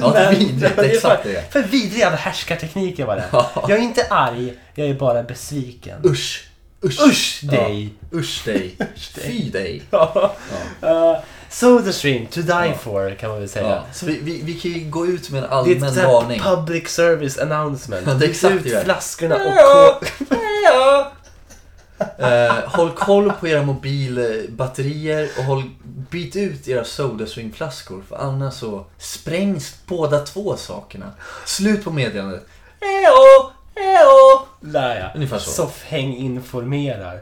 Ja, det är
men-
vidrigt.
men det är
Exakt
för-
det.
För vidriga härskartekniker var det.
Ja.
Jag är inte arg, jag är bara besviken.
Usch. Usch.
Usch
Ja.
dig!
Usch dig.
dig.
Fy dig.
Ja. Eh, Sodastream, to die
Ja.
for kan man väl säga.
Ja. Så vi, vi, vi kan ju gå ut med en
Det är
allmän
ett sånt
varning.
här public service announcement.
Ja, det är exakt
Ut
det.
flaskorna och
Ja.
på...
Eh, håll koll på era mobilbatterier och håll, byt ut era Sodastream-flaskor för annars så sprängs båda två sakerna. Slut på meddelandet. Ejo, ejo.
Där ja.
Ungefär så.
Soffhäng informerar.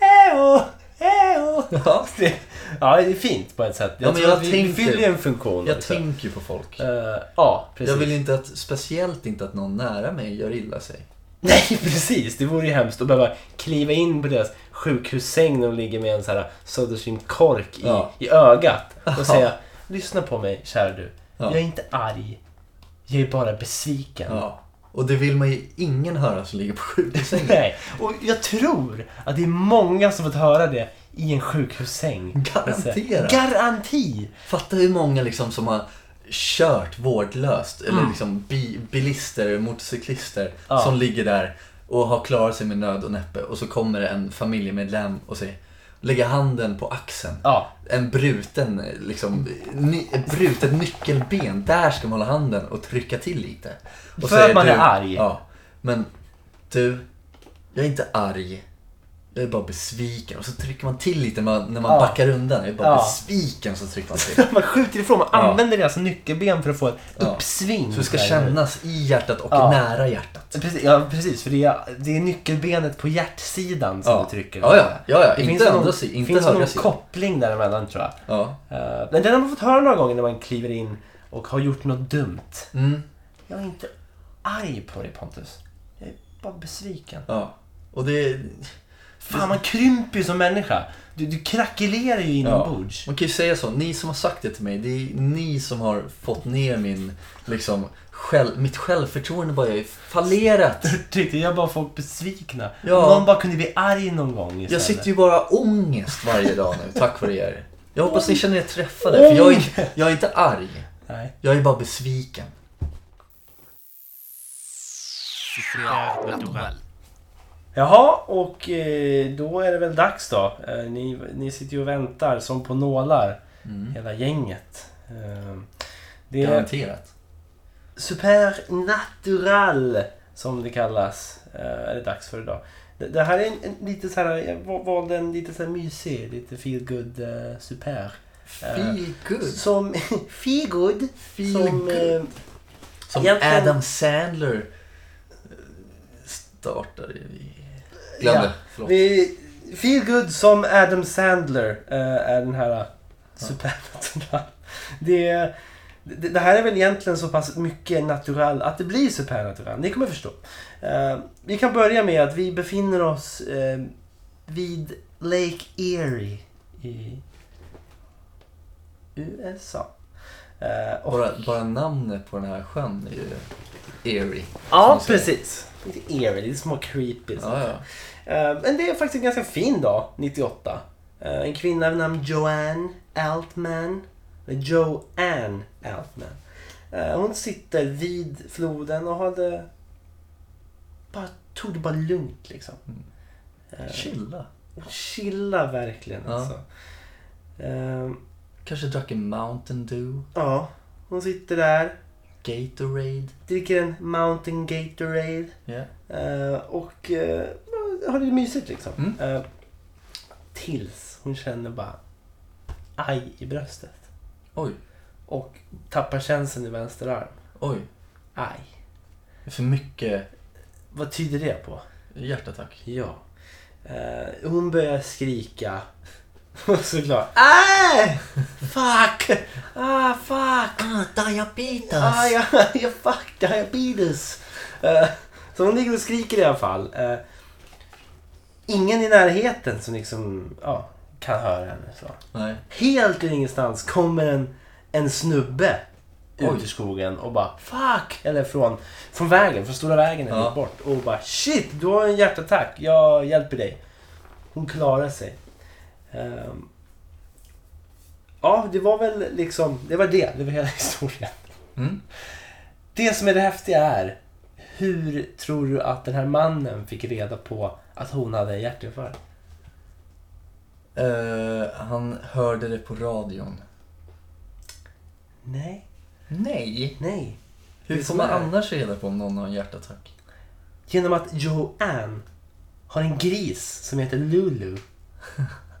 Hejo! Hejo!
Ja.
Det- Ja, det är fint på ett sätt. Jag
Ja, men
tror
jag
att vi vi
tänker-
fyller ju en funktion.
Jag
också.
tänker ju på folk.
Eh, ja, precis.
Jag vill inte att, speciellt inte att någon nära mig gör illa sig.
Nej, precis. Det vore ju hemskt att behöva kliva in på deras sjukhussäng när de ligger med en sån här Soderstream-kork i,
Ja.
i ögat och säga Lyssna på mig, kära du.
Ja.
Jag är inte arg. Jag är bara besviken.
Ja. Och det vill man ju ingen höra som ligger på sjukhussängen.
Nej, och jag tror att det är många som fått höra det i en sjukhussäng. Alltså,
Garanterat.
Garanti!
Fatta hur många liksom som har kört vårdlöst, eller liksom bi- bilister, motorcyklister
Mm. Ja.
som ligger där och har klarat sig med nöd och näppe och så kommer det en familjemedlem och säger lägger handen på axeln.
Ja,
En bruten, liksom, ny, ett brutet nyckelben. Där ska man hålla handen och trycka till lite. Och
För att man är arg.
Ja, men du, jag är inte arg. Jag är bara besviken. Och så trycker man till lite när man, när man
Ja.
backar undan. Jag är bara
Ja.
besviken. Så trycker man till.
man skjuter ifrån. Man
Ja.
använder deras nyckelben för att få ett
Ja.
uppsving.
Så det ska
där.
kännas i hjärtat och
Ja.
nära hjärtat.
Precis, ja, precis för det är, det är nyckelbenet på hjärtsidan som
Ja.
du trycker.
Ja, ja, ja, ja.
Det
inte
någon-
andra sidan, inte
finns
högra
någon
sidan.
koppling däremellan tror jag.
Ja.
Eh, men den har man fått höra några gånger när man kliver in och har gjort något dumt.
Mm.
Jag är inte arg på dig Pontus. Jag är bara besviken.
ja. Och det...
Fan, man krymper ju som människa. Du, du krackelerar ju inombords.
Man kan ju säga så, ni som har sagt det till mig, det är ni som har fått ner min, liksom, själv, mitt självförtroende bara jag är fallerat.
Tyckte jag bara folk besvikna.
Ja.
Om Någon bara kunde bli arg någon gång istället.
Jag sitter ju bara ångest varje dag nu, tack vare er. Jag hoppas ni känner er träffade, för jag är, jag är inte arg.
Nej.
Jag är bara besviken.
Jaha, och eh, då är det väl dags då. Eh, Ni, ni sitter ju och väntar som på nålar,
Mm.
hela gänget. Eh, Det är
Garanterat.
Supernatural som det kallas. eh, Är det dags för idag. Det- Det här är en, en lite så här, jag va- valde en lite så här mysig, lite feel good eh, super.
Feel good.
Som, feel good.
Feel
som,
good.
eh,
Som
Egentligen-
Adam Sandler eh, startade i... Glömde.
Ja.
Förlåt.
vi, feel good som Adam Sandler eh, är den här supernatural. Det, det, det här är väl egentligen så pass mycket natural att det blir supernatural. Ni kommer förstå. Eh, vi kan börja med att vi befinner oss eh, vid Lake Erie i USA. Eh, och
Bara, bara namnet på den här sjön är ju eerie.
Ja,
som du säger.
precis. Lite eerie, lite små creepy. så.
Ja, ja.
Eh, Men det är faktiskt en ganska fin dag, 98. Eh, En kvinna vid namn Joanne Altman. Eller Joanne Altman. Eh, Hon sitter vid floden och hade... Bara, tog det bara lugnt liksom. Eh,
Chilla.
Chilla verkligen
Ja.
alltså. Eh,
Kanske drack en Mountain Dew,
Ja, hon sitter där.
Gatorade.
Dricker en Mountain Gatorade.
Ja.
Eh, och eh, har det mysigt liksom.
Mm.
Eh, tills hon känner bara aj i bröstet.
Oj,
Och tappar känseln i vänster arm.
oj.
Aj.
Det är för mycket
Vad tyder det på?
hjärtattack.
Ja. Eh, hon börjar skrika. Såklart.
Äh!
Fuck! Ah, fuck!
Ah, diabetes!
Ah, jag, jag fuck diabetes! Eh, så hon ligger och skriker i alla fall. Eh, ingen i närheten som liksom, ja, kan höra henne. Så.
Nej.
Helt ur ingenstans kommer en, en snubbe ut
Oj.
ur skogen och bara fuck! Eller från, från vägen, från stora vägen en
Ja.
bit bort. Och bara shit, du har en hjärtattack. Jag hjälper dig. Hon klarar sig. Ehm, ja, det var väl liksom, det var det. Det var hela historien.
Mm.
Det som är det häftiga är hur tror du att den här mannen fick reda på att hon hade en hjärtinfarkt?
Eh, han hörde det på radion.
Nej,
Nej!
nej. Det
Hur
är
får
som
man
är.
annars reda på om någon har en hjärtattack?
Genom att Joanne har en gris som heter Lulu.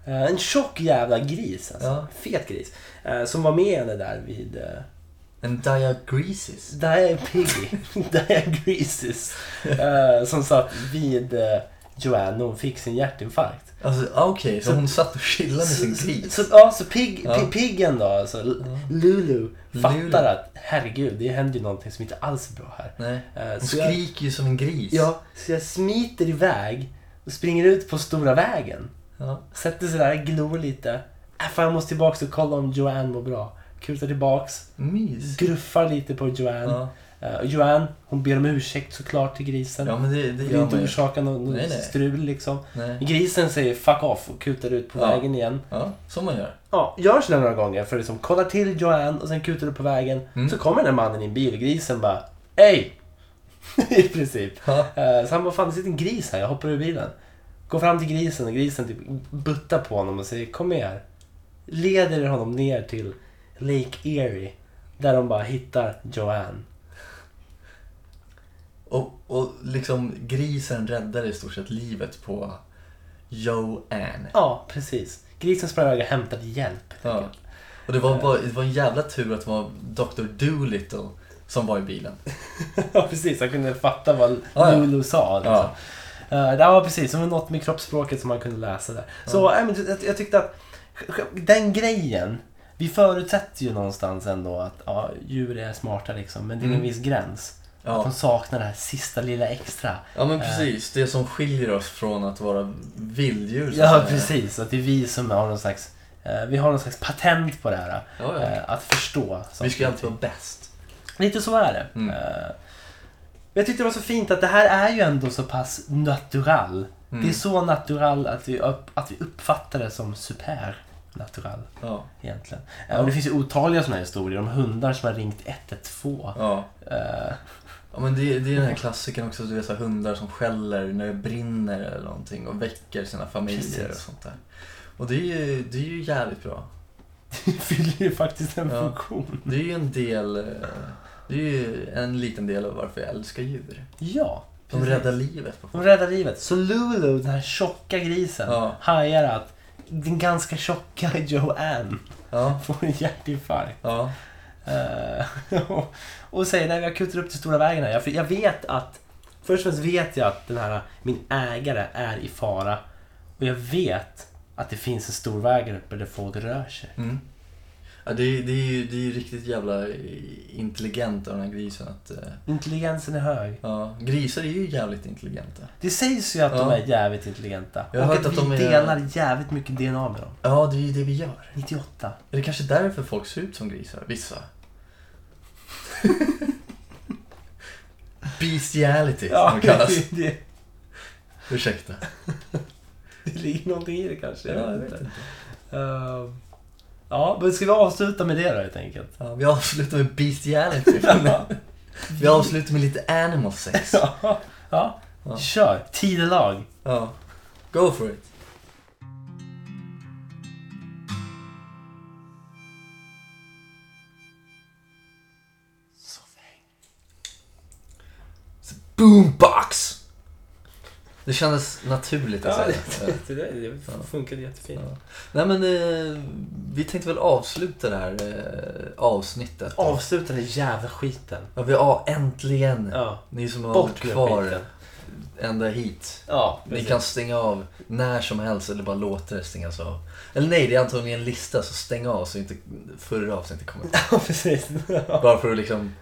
Eh, En tjock jävla gris. Alltså.
Ja.
Fet gris. eh, Som var med henne där vid eh,
En diagresis?
Dia Piggy. Dia Greases. eh, Som satt vid eh, Joanne när hon fick sin hjärtinfarkt.
Alltså, ah, okej, så,
Så-
hon satt och chillade med sin
Så-
gris?
Så, ja, så pig,
Ja.
pi- piggen då, alltså, L- Lulu, fattar
Lulu.
att herregud, det händer ju någonting som inte alls är bra här.
Nej.
Eh,
Hon
så jag-
skriker ju som en gris.
Ja, så jag smiter iväg och springer ut på stora vägen.
Ja.
Sätter sig där, glor lite. Äh, fan, jag måste tillbaks och kolla om Joanne mår bra. Kutar tillbaks,
Mys.
gruffar lite på Joanne.
Ja.
Eh, och Joanne, hon ber om ursäkt såklart till grisen.
ja, men det, det
Vill
gör
inte
man ju.
orsaka någon, någon
Nej, nej.
strul liksom.
Nej.
Grisen säger fuck off och kutar ut på
Ja.
vägen igen.
Ja, som man gör.
Ja, gör sådär några gånger för att liksom kolla till Joanne och sen kutar du på vägen.
Mm.
Så kommer den här mannen i en bil och grisen bara Hej! I princip.
Ja.
Eh, Så han bara, fan det sitter en gris här, jag hoppar ur bilen. Går fram till grisen och grisen typ buttar på honom och säger kom med här. Leder honom ner till Lake Erie. Där de bara hittar Joanne.
Och, och liksom grisen räddade i stort sett livet på Joanne.
Ja, precis. Grisen sprang iväg och hämtade hjälp. helt
Ja.
enkelt.
Och det var, bara, det var en jävla tur att det var Dr. Doolittle som var i bilen.
ja, precis. Han kunde fatta vad
Ja, ja.
Lulu sa. Liksom.
Ja.
Eh, Det var precis, det var något med kroppsspråket som man kunde läsa där. Så nej, men jag, jag tyckte att den grejen, vi förutsätter ju någonstans ändå att ja, djur är smarta liksom, men det är en
Mm.
viss gräns. Att de
Ja.
saknar det här sista lilla extra.
ja, men precis. Det som skiljer oss från att vara vilddjur. så att
Ja,
säga.
precis. Att det är vi som har någon slags, eh, vi har någon slags patent på det här.
Ja, ja.
eh, Att förstå. saker
Vi ska ju
och
alltid
ting.
vara bäst.
Lite så är det.
Mm.
Eh, men Jag tyckte det var så fint att det här är ju ändå så pass natural.
Mm.
Det är så natural att vi, upp, att vi uppfattar det som supernatural
Ja.
egentligen. Eh, Och det finns ju otaliga sådana här historier om hundar som har ringt 112.
ja.
Eh,
Ja men det, det är den här klassiken också, du vet så här, hundar som skäller när det brinner eller någonting och väcker sina familjer och
Precis.
sånt där. Och det är ju, det är ju jävligt bra.
det fyller ju faktiskt en
Ja.
funktion.
Det är ju en del, eh, det är ju en liten del av varför jag älskar djur.
Ja,
De
precis.
räddar livet på
De
folk.
räddar livet. Så Lulu, den här tjocka grisen,
Ja.
hajar att den ganska tjocka Joanne
Ja,
får en hjärtinfarkt.
ja,
Eh, och- och säger nej, jag kutar upp till stora vägen här. Jag, för jag vet att, först och främst vet jag att den här, min ägare är i fara. Och jag vet att det finns en stor väg här uppe där folk rör sig.
mm. ja det, är, det, är ju, det är ju riktigt jävla intelligent av den här grisen att... eh,
Intelligensen är hög.
Ja, grisar är ju jävligt intelligenta.
Det sägs ju att de
Ja.
är jävligt intelligenta.
Jag har
och
hört
att,
att
vi
de är-
delar jävligt mycket DNA med dem.
Ja, det är ju det vi gör.
98.
Är det kanske därför folk ser ut som grisar? Vissa. Bestiality, som det kallas.
det, det,
Ursäkta.
det ligger någonting i det kanske. Jag vet inte.
inte.
Eh, ja, men ska vi avsluta med det då helt enkelt?
Ja, vi avslutar med bestiality. vi avslutar med lite animal sex.
ja. ja.
Ja.
Kör! Tidelag.
Ja. Go for it. It's a boombox! Det kändes naturligt att
Ja,
säga. Ja.
det, det, det
Ja.
funkade jättefint.
Ja. Nej men eh, vi tänkte väl avsluta det här eh, avsnittet.
Avsluta den jävla skiten.
Ja, vi, ja, äntligen!
Ja.
Ni som har varit
Bort med
kvar
skiten.
ända hit.
Ja,
Ni
precis.
kan stänga av när som helst eller bara låta det stängas av. Eller nej, det är antagligen en lista så stäng av så inte förra avsnittet kommer.
Ja, precis.
Bara för att liksom,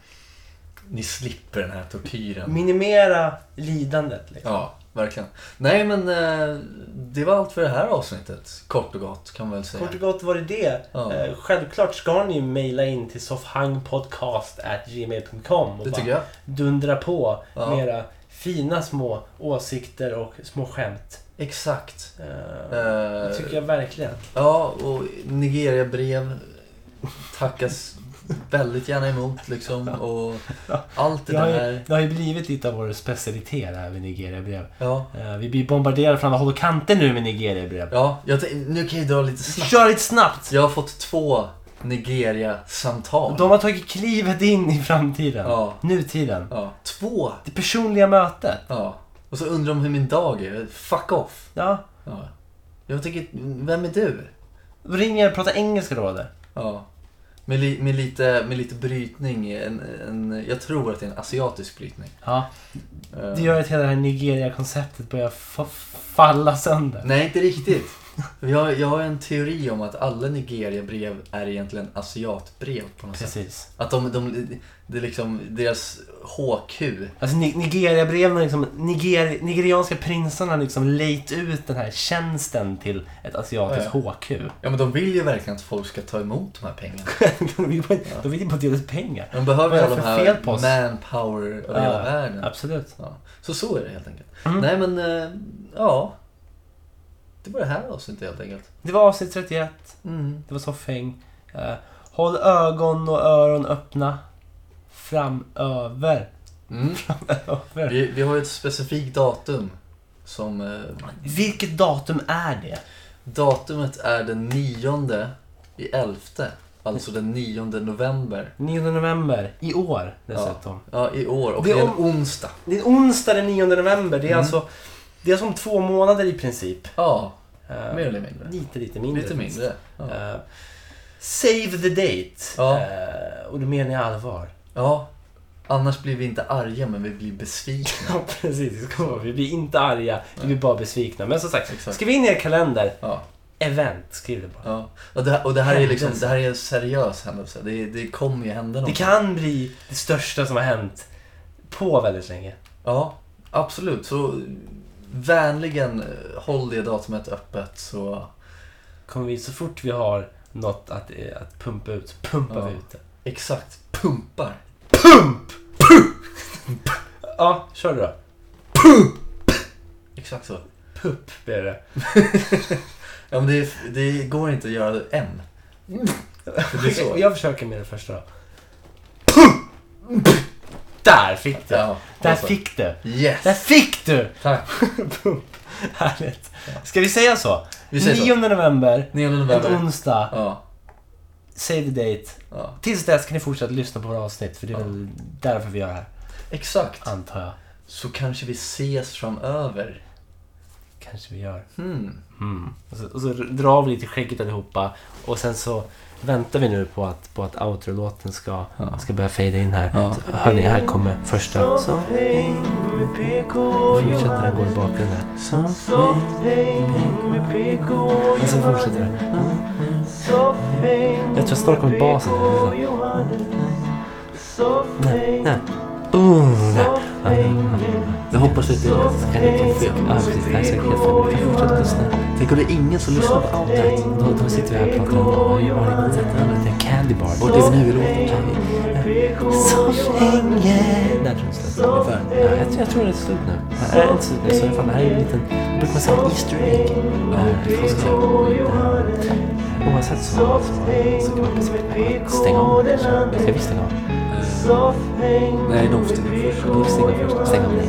ni slipper den här tortyren.
Minimera lidandet. Liksom.
Ja, verkligen. Nej men eh, det var allt för det här avsnittet. Kort och gott kan man väl säga.
Kort och gott var det det.
Ja.
Eh, Självklart ska ni ju mejla in till soffhangpodcast.gmail.com och
Det tycker
bara
jag.
dundra på
Ja.
med era fina små åsikter och små skämt.
Exakt.
Eh,
Eh,
Det tycker jag verkligen.
Ja, och Nigeria-brev tackas väldigt gärna emot liksom. Och allt det
Det har, ju,
där.
det har ju blivit lite av vår specialitet här med Nigeria-brev.
Ja,
Eh, Vi blir bombarderade från alla håll och kanter nu med Nigeria-brev.
ja jag tän- nu kan jag dra lite snabbt.
Kör lite snabbt!
Jag har fått två Nigeria-samtal.
De har tagit klivet in i framtiden.
Ja.
Nutiden.
Ja, två!
Det personliga mötet.
Ja. Och så undrar de hur min dag är. Fuck off!
Ja.
Ja. Jag tänker, vem är du?
Då ringer jag och pratar engelska då eller?
Ja. Med, li, med, lite, med lite brytning. En, en, jag tror att det är en asiatisk brytning.
Ja.
Eh,
Det gör att hela det här Nigeria-konceptet börjar fa- falla sönder.
Nej, inte riktigt. Jag, jag har en teori om att alla Nigeria-brev är egentligen asiatbrev på något sätt.
Precis.
Att de, de, det är liksom deras HQ.
Alltså Ni- Nigeria-breven, har liksom, Niger, nigerianska prinsarna har liksom lejt ut den här tjänsten till ett asiatiskt
Ja,
HQ.
Ja, men de vill ju verkligen att folk ska ta emot de här pengarna.
de vill bara- de vill ju bara dela ut pengar.
De behöver
Vad
ju
är det
alla de
för fel
här
på oss?
manpower över hela
Ja,
världen.
Absolut.
Ja. Så så är det helt enkelt.
Mm.
Nej, men eh, ja. Det var det här avsnittet helt enkelt.
Det var avsnitt 31.
Mm.
Det var soffhäng. Eh, håll ögon och öron öppna. Framöver.
Mm.
Över.
Vi, vi har ju ett specifikt datum. Som eh,
Vilket datum är det?
Datumet är den 9 i 11. Alltså den 9 november.
9 november i år dessutom.
Ja, i år. Och
Det
det
är
är en onsdag.
Det är onsdag den 9 november. Det är
Mm.
alltså det är som två månader i princip.
Ja,
Eh,
mer eller mindre.
Lite, lite mindre.
Lite mindre. Ja,
Eh, save the date.
Ja.
Eh, och då menar jag allvar.
ja. Annars blir vi inte arga, men vi blir
Ja,
besvikna.
precis. Det ska vara. Vi blir inte arga, vi blir bara besvikna. Men som sagt,
Exakt.
skriv in i er kalender.
Ja.
Event, skriv det bara.
ja. Och, det här, och det här är liksom,
Händelse.
det här är en seriös händelse. Det, det kommer ju hända
Det
något.
kan bli det största som har hänt på väldigt länge.
Ja, absolut. Så vänligen eh, håll det datumet öppet så
Kommer vi, så fort vi har något att, eh, att pumpa ut, pumpar
Ja.
vi ut det.
exakt pumpar.
Ja, kör du då.
Exakt så.
Pupp blir det.
Ja, men det, det går inte att göra M. Det blir så.
Jag försöker med det första då. Där fick du!
Ja,
Där
alltså.
fick du!
Yes!
Där fick du!
Tack.
Härligt. Ska vi säga så?
Vi säger så.
9 november,
9
en
november.
onsdag,
Ja,
save the date.
ja.
Tills dess kan ni fortsätta lyssna på våra avsnitt för det är
Ja.
väl därför vi gör det här,
Exakt.
antar jag.
Så kanske vi ses framöver.
Kanske vi gör.
Hmm.
Mm. Och, så, och så drar vi lite i skägget allihopa och sen så väntar vi nu på att, på att outro-låten ska,
Ja.
ska börja fejda in här.
Ja.
Så, hörni, här kommer första. Så fortsätter den gå i bakgrunden här. Men sen fortsätter det. Jag tror snart kommer basen. Nej, nej. Uh, nej. Ja, ja, ja. Jag hoppas att det är en liten fel. Ja, precis. Nej, säkert helt fel. Vi kan fortsätta lyssna.
Tänk om det är ingen som lyssnar på allt.
Nej, då, då sitter vi här och pratar om vad vi har i konceptet. Det är en candy bar. Och det är nu i låten. Så länge. När tror du det slutar? Ungefär. Ja, jag, tror- jag tror det är slut nu. Nej, det är inte slut nu. Så fan, det här är ju en liten... Då brukar man säga en Easter egg. Ja, det får ska Oavsett så, så, så kan man passa på att stänga av. Ska vi stänga av?
Nej, de stänger först.
Vi stänger först. Stäng av dig.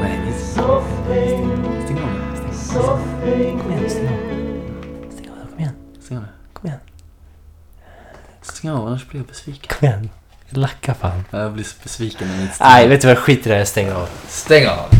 Nej, det är inte. Stäng av nu.
Stäng av. Kom igen, stäng av. Stäng av, kom igen.
Stäng av nu.
Kom igen.
Stäng av, annars blir jag besviken.
Kom igen. Lacka fan.
Jag blir så besviken när ni inte
Nej, vet du vad? Skit i det här. Jag stänger av.
Stäng av!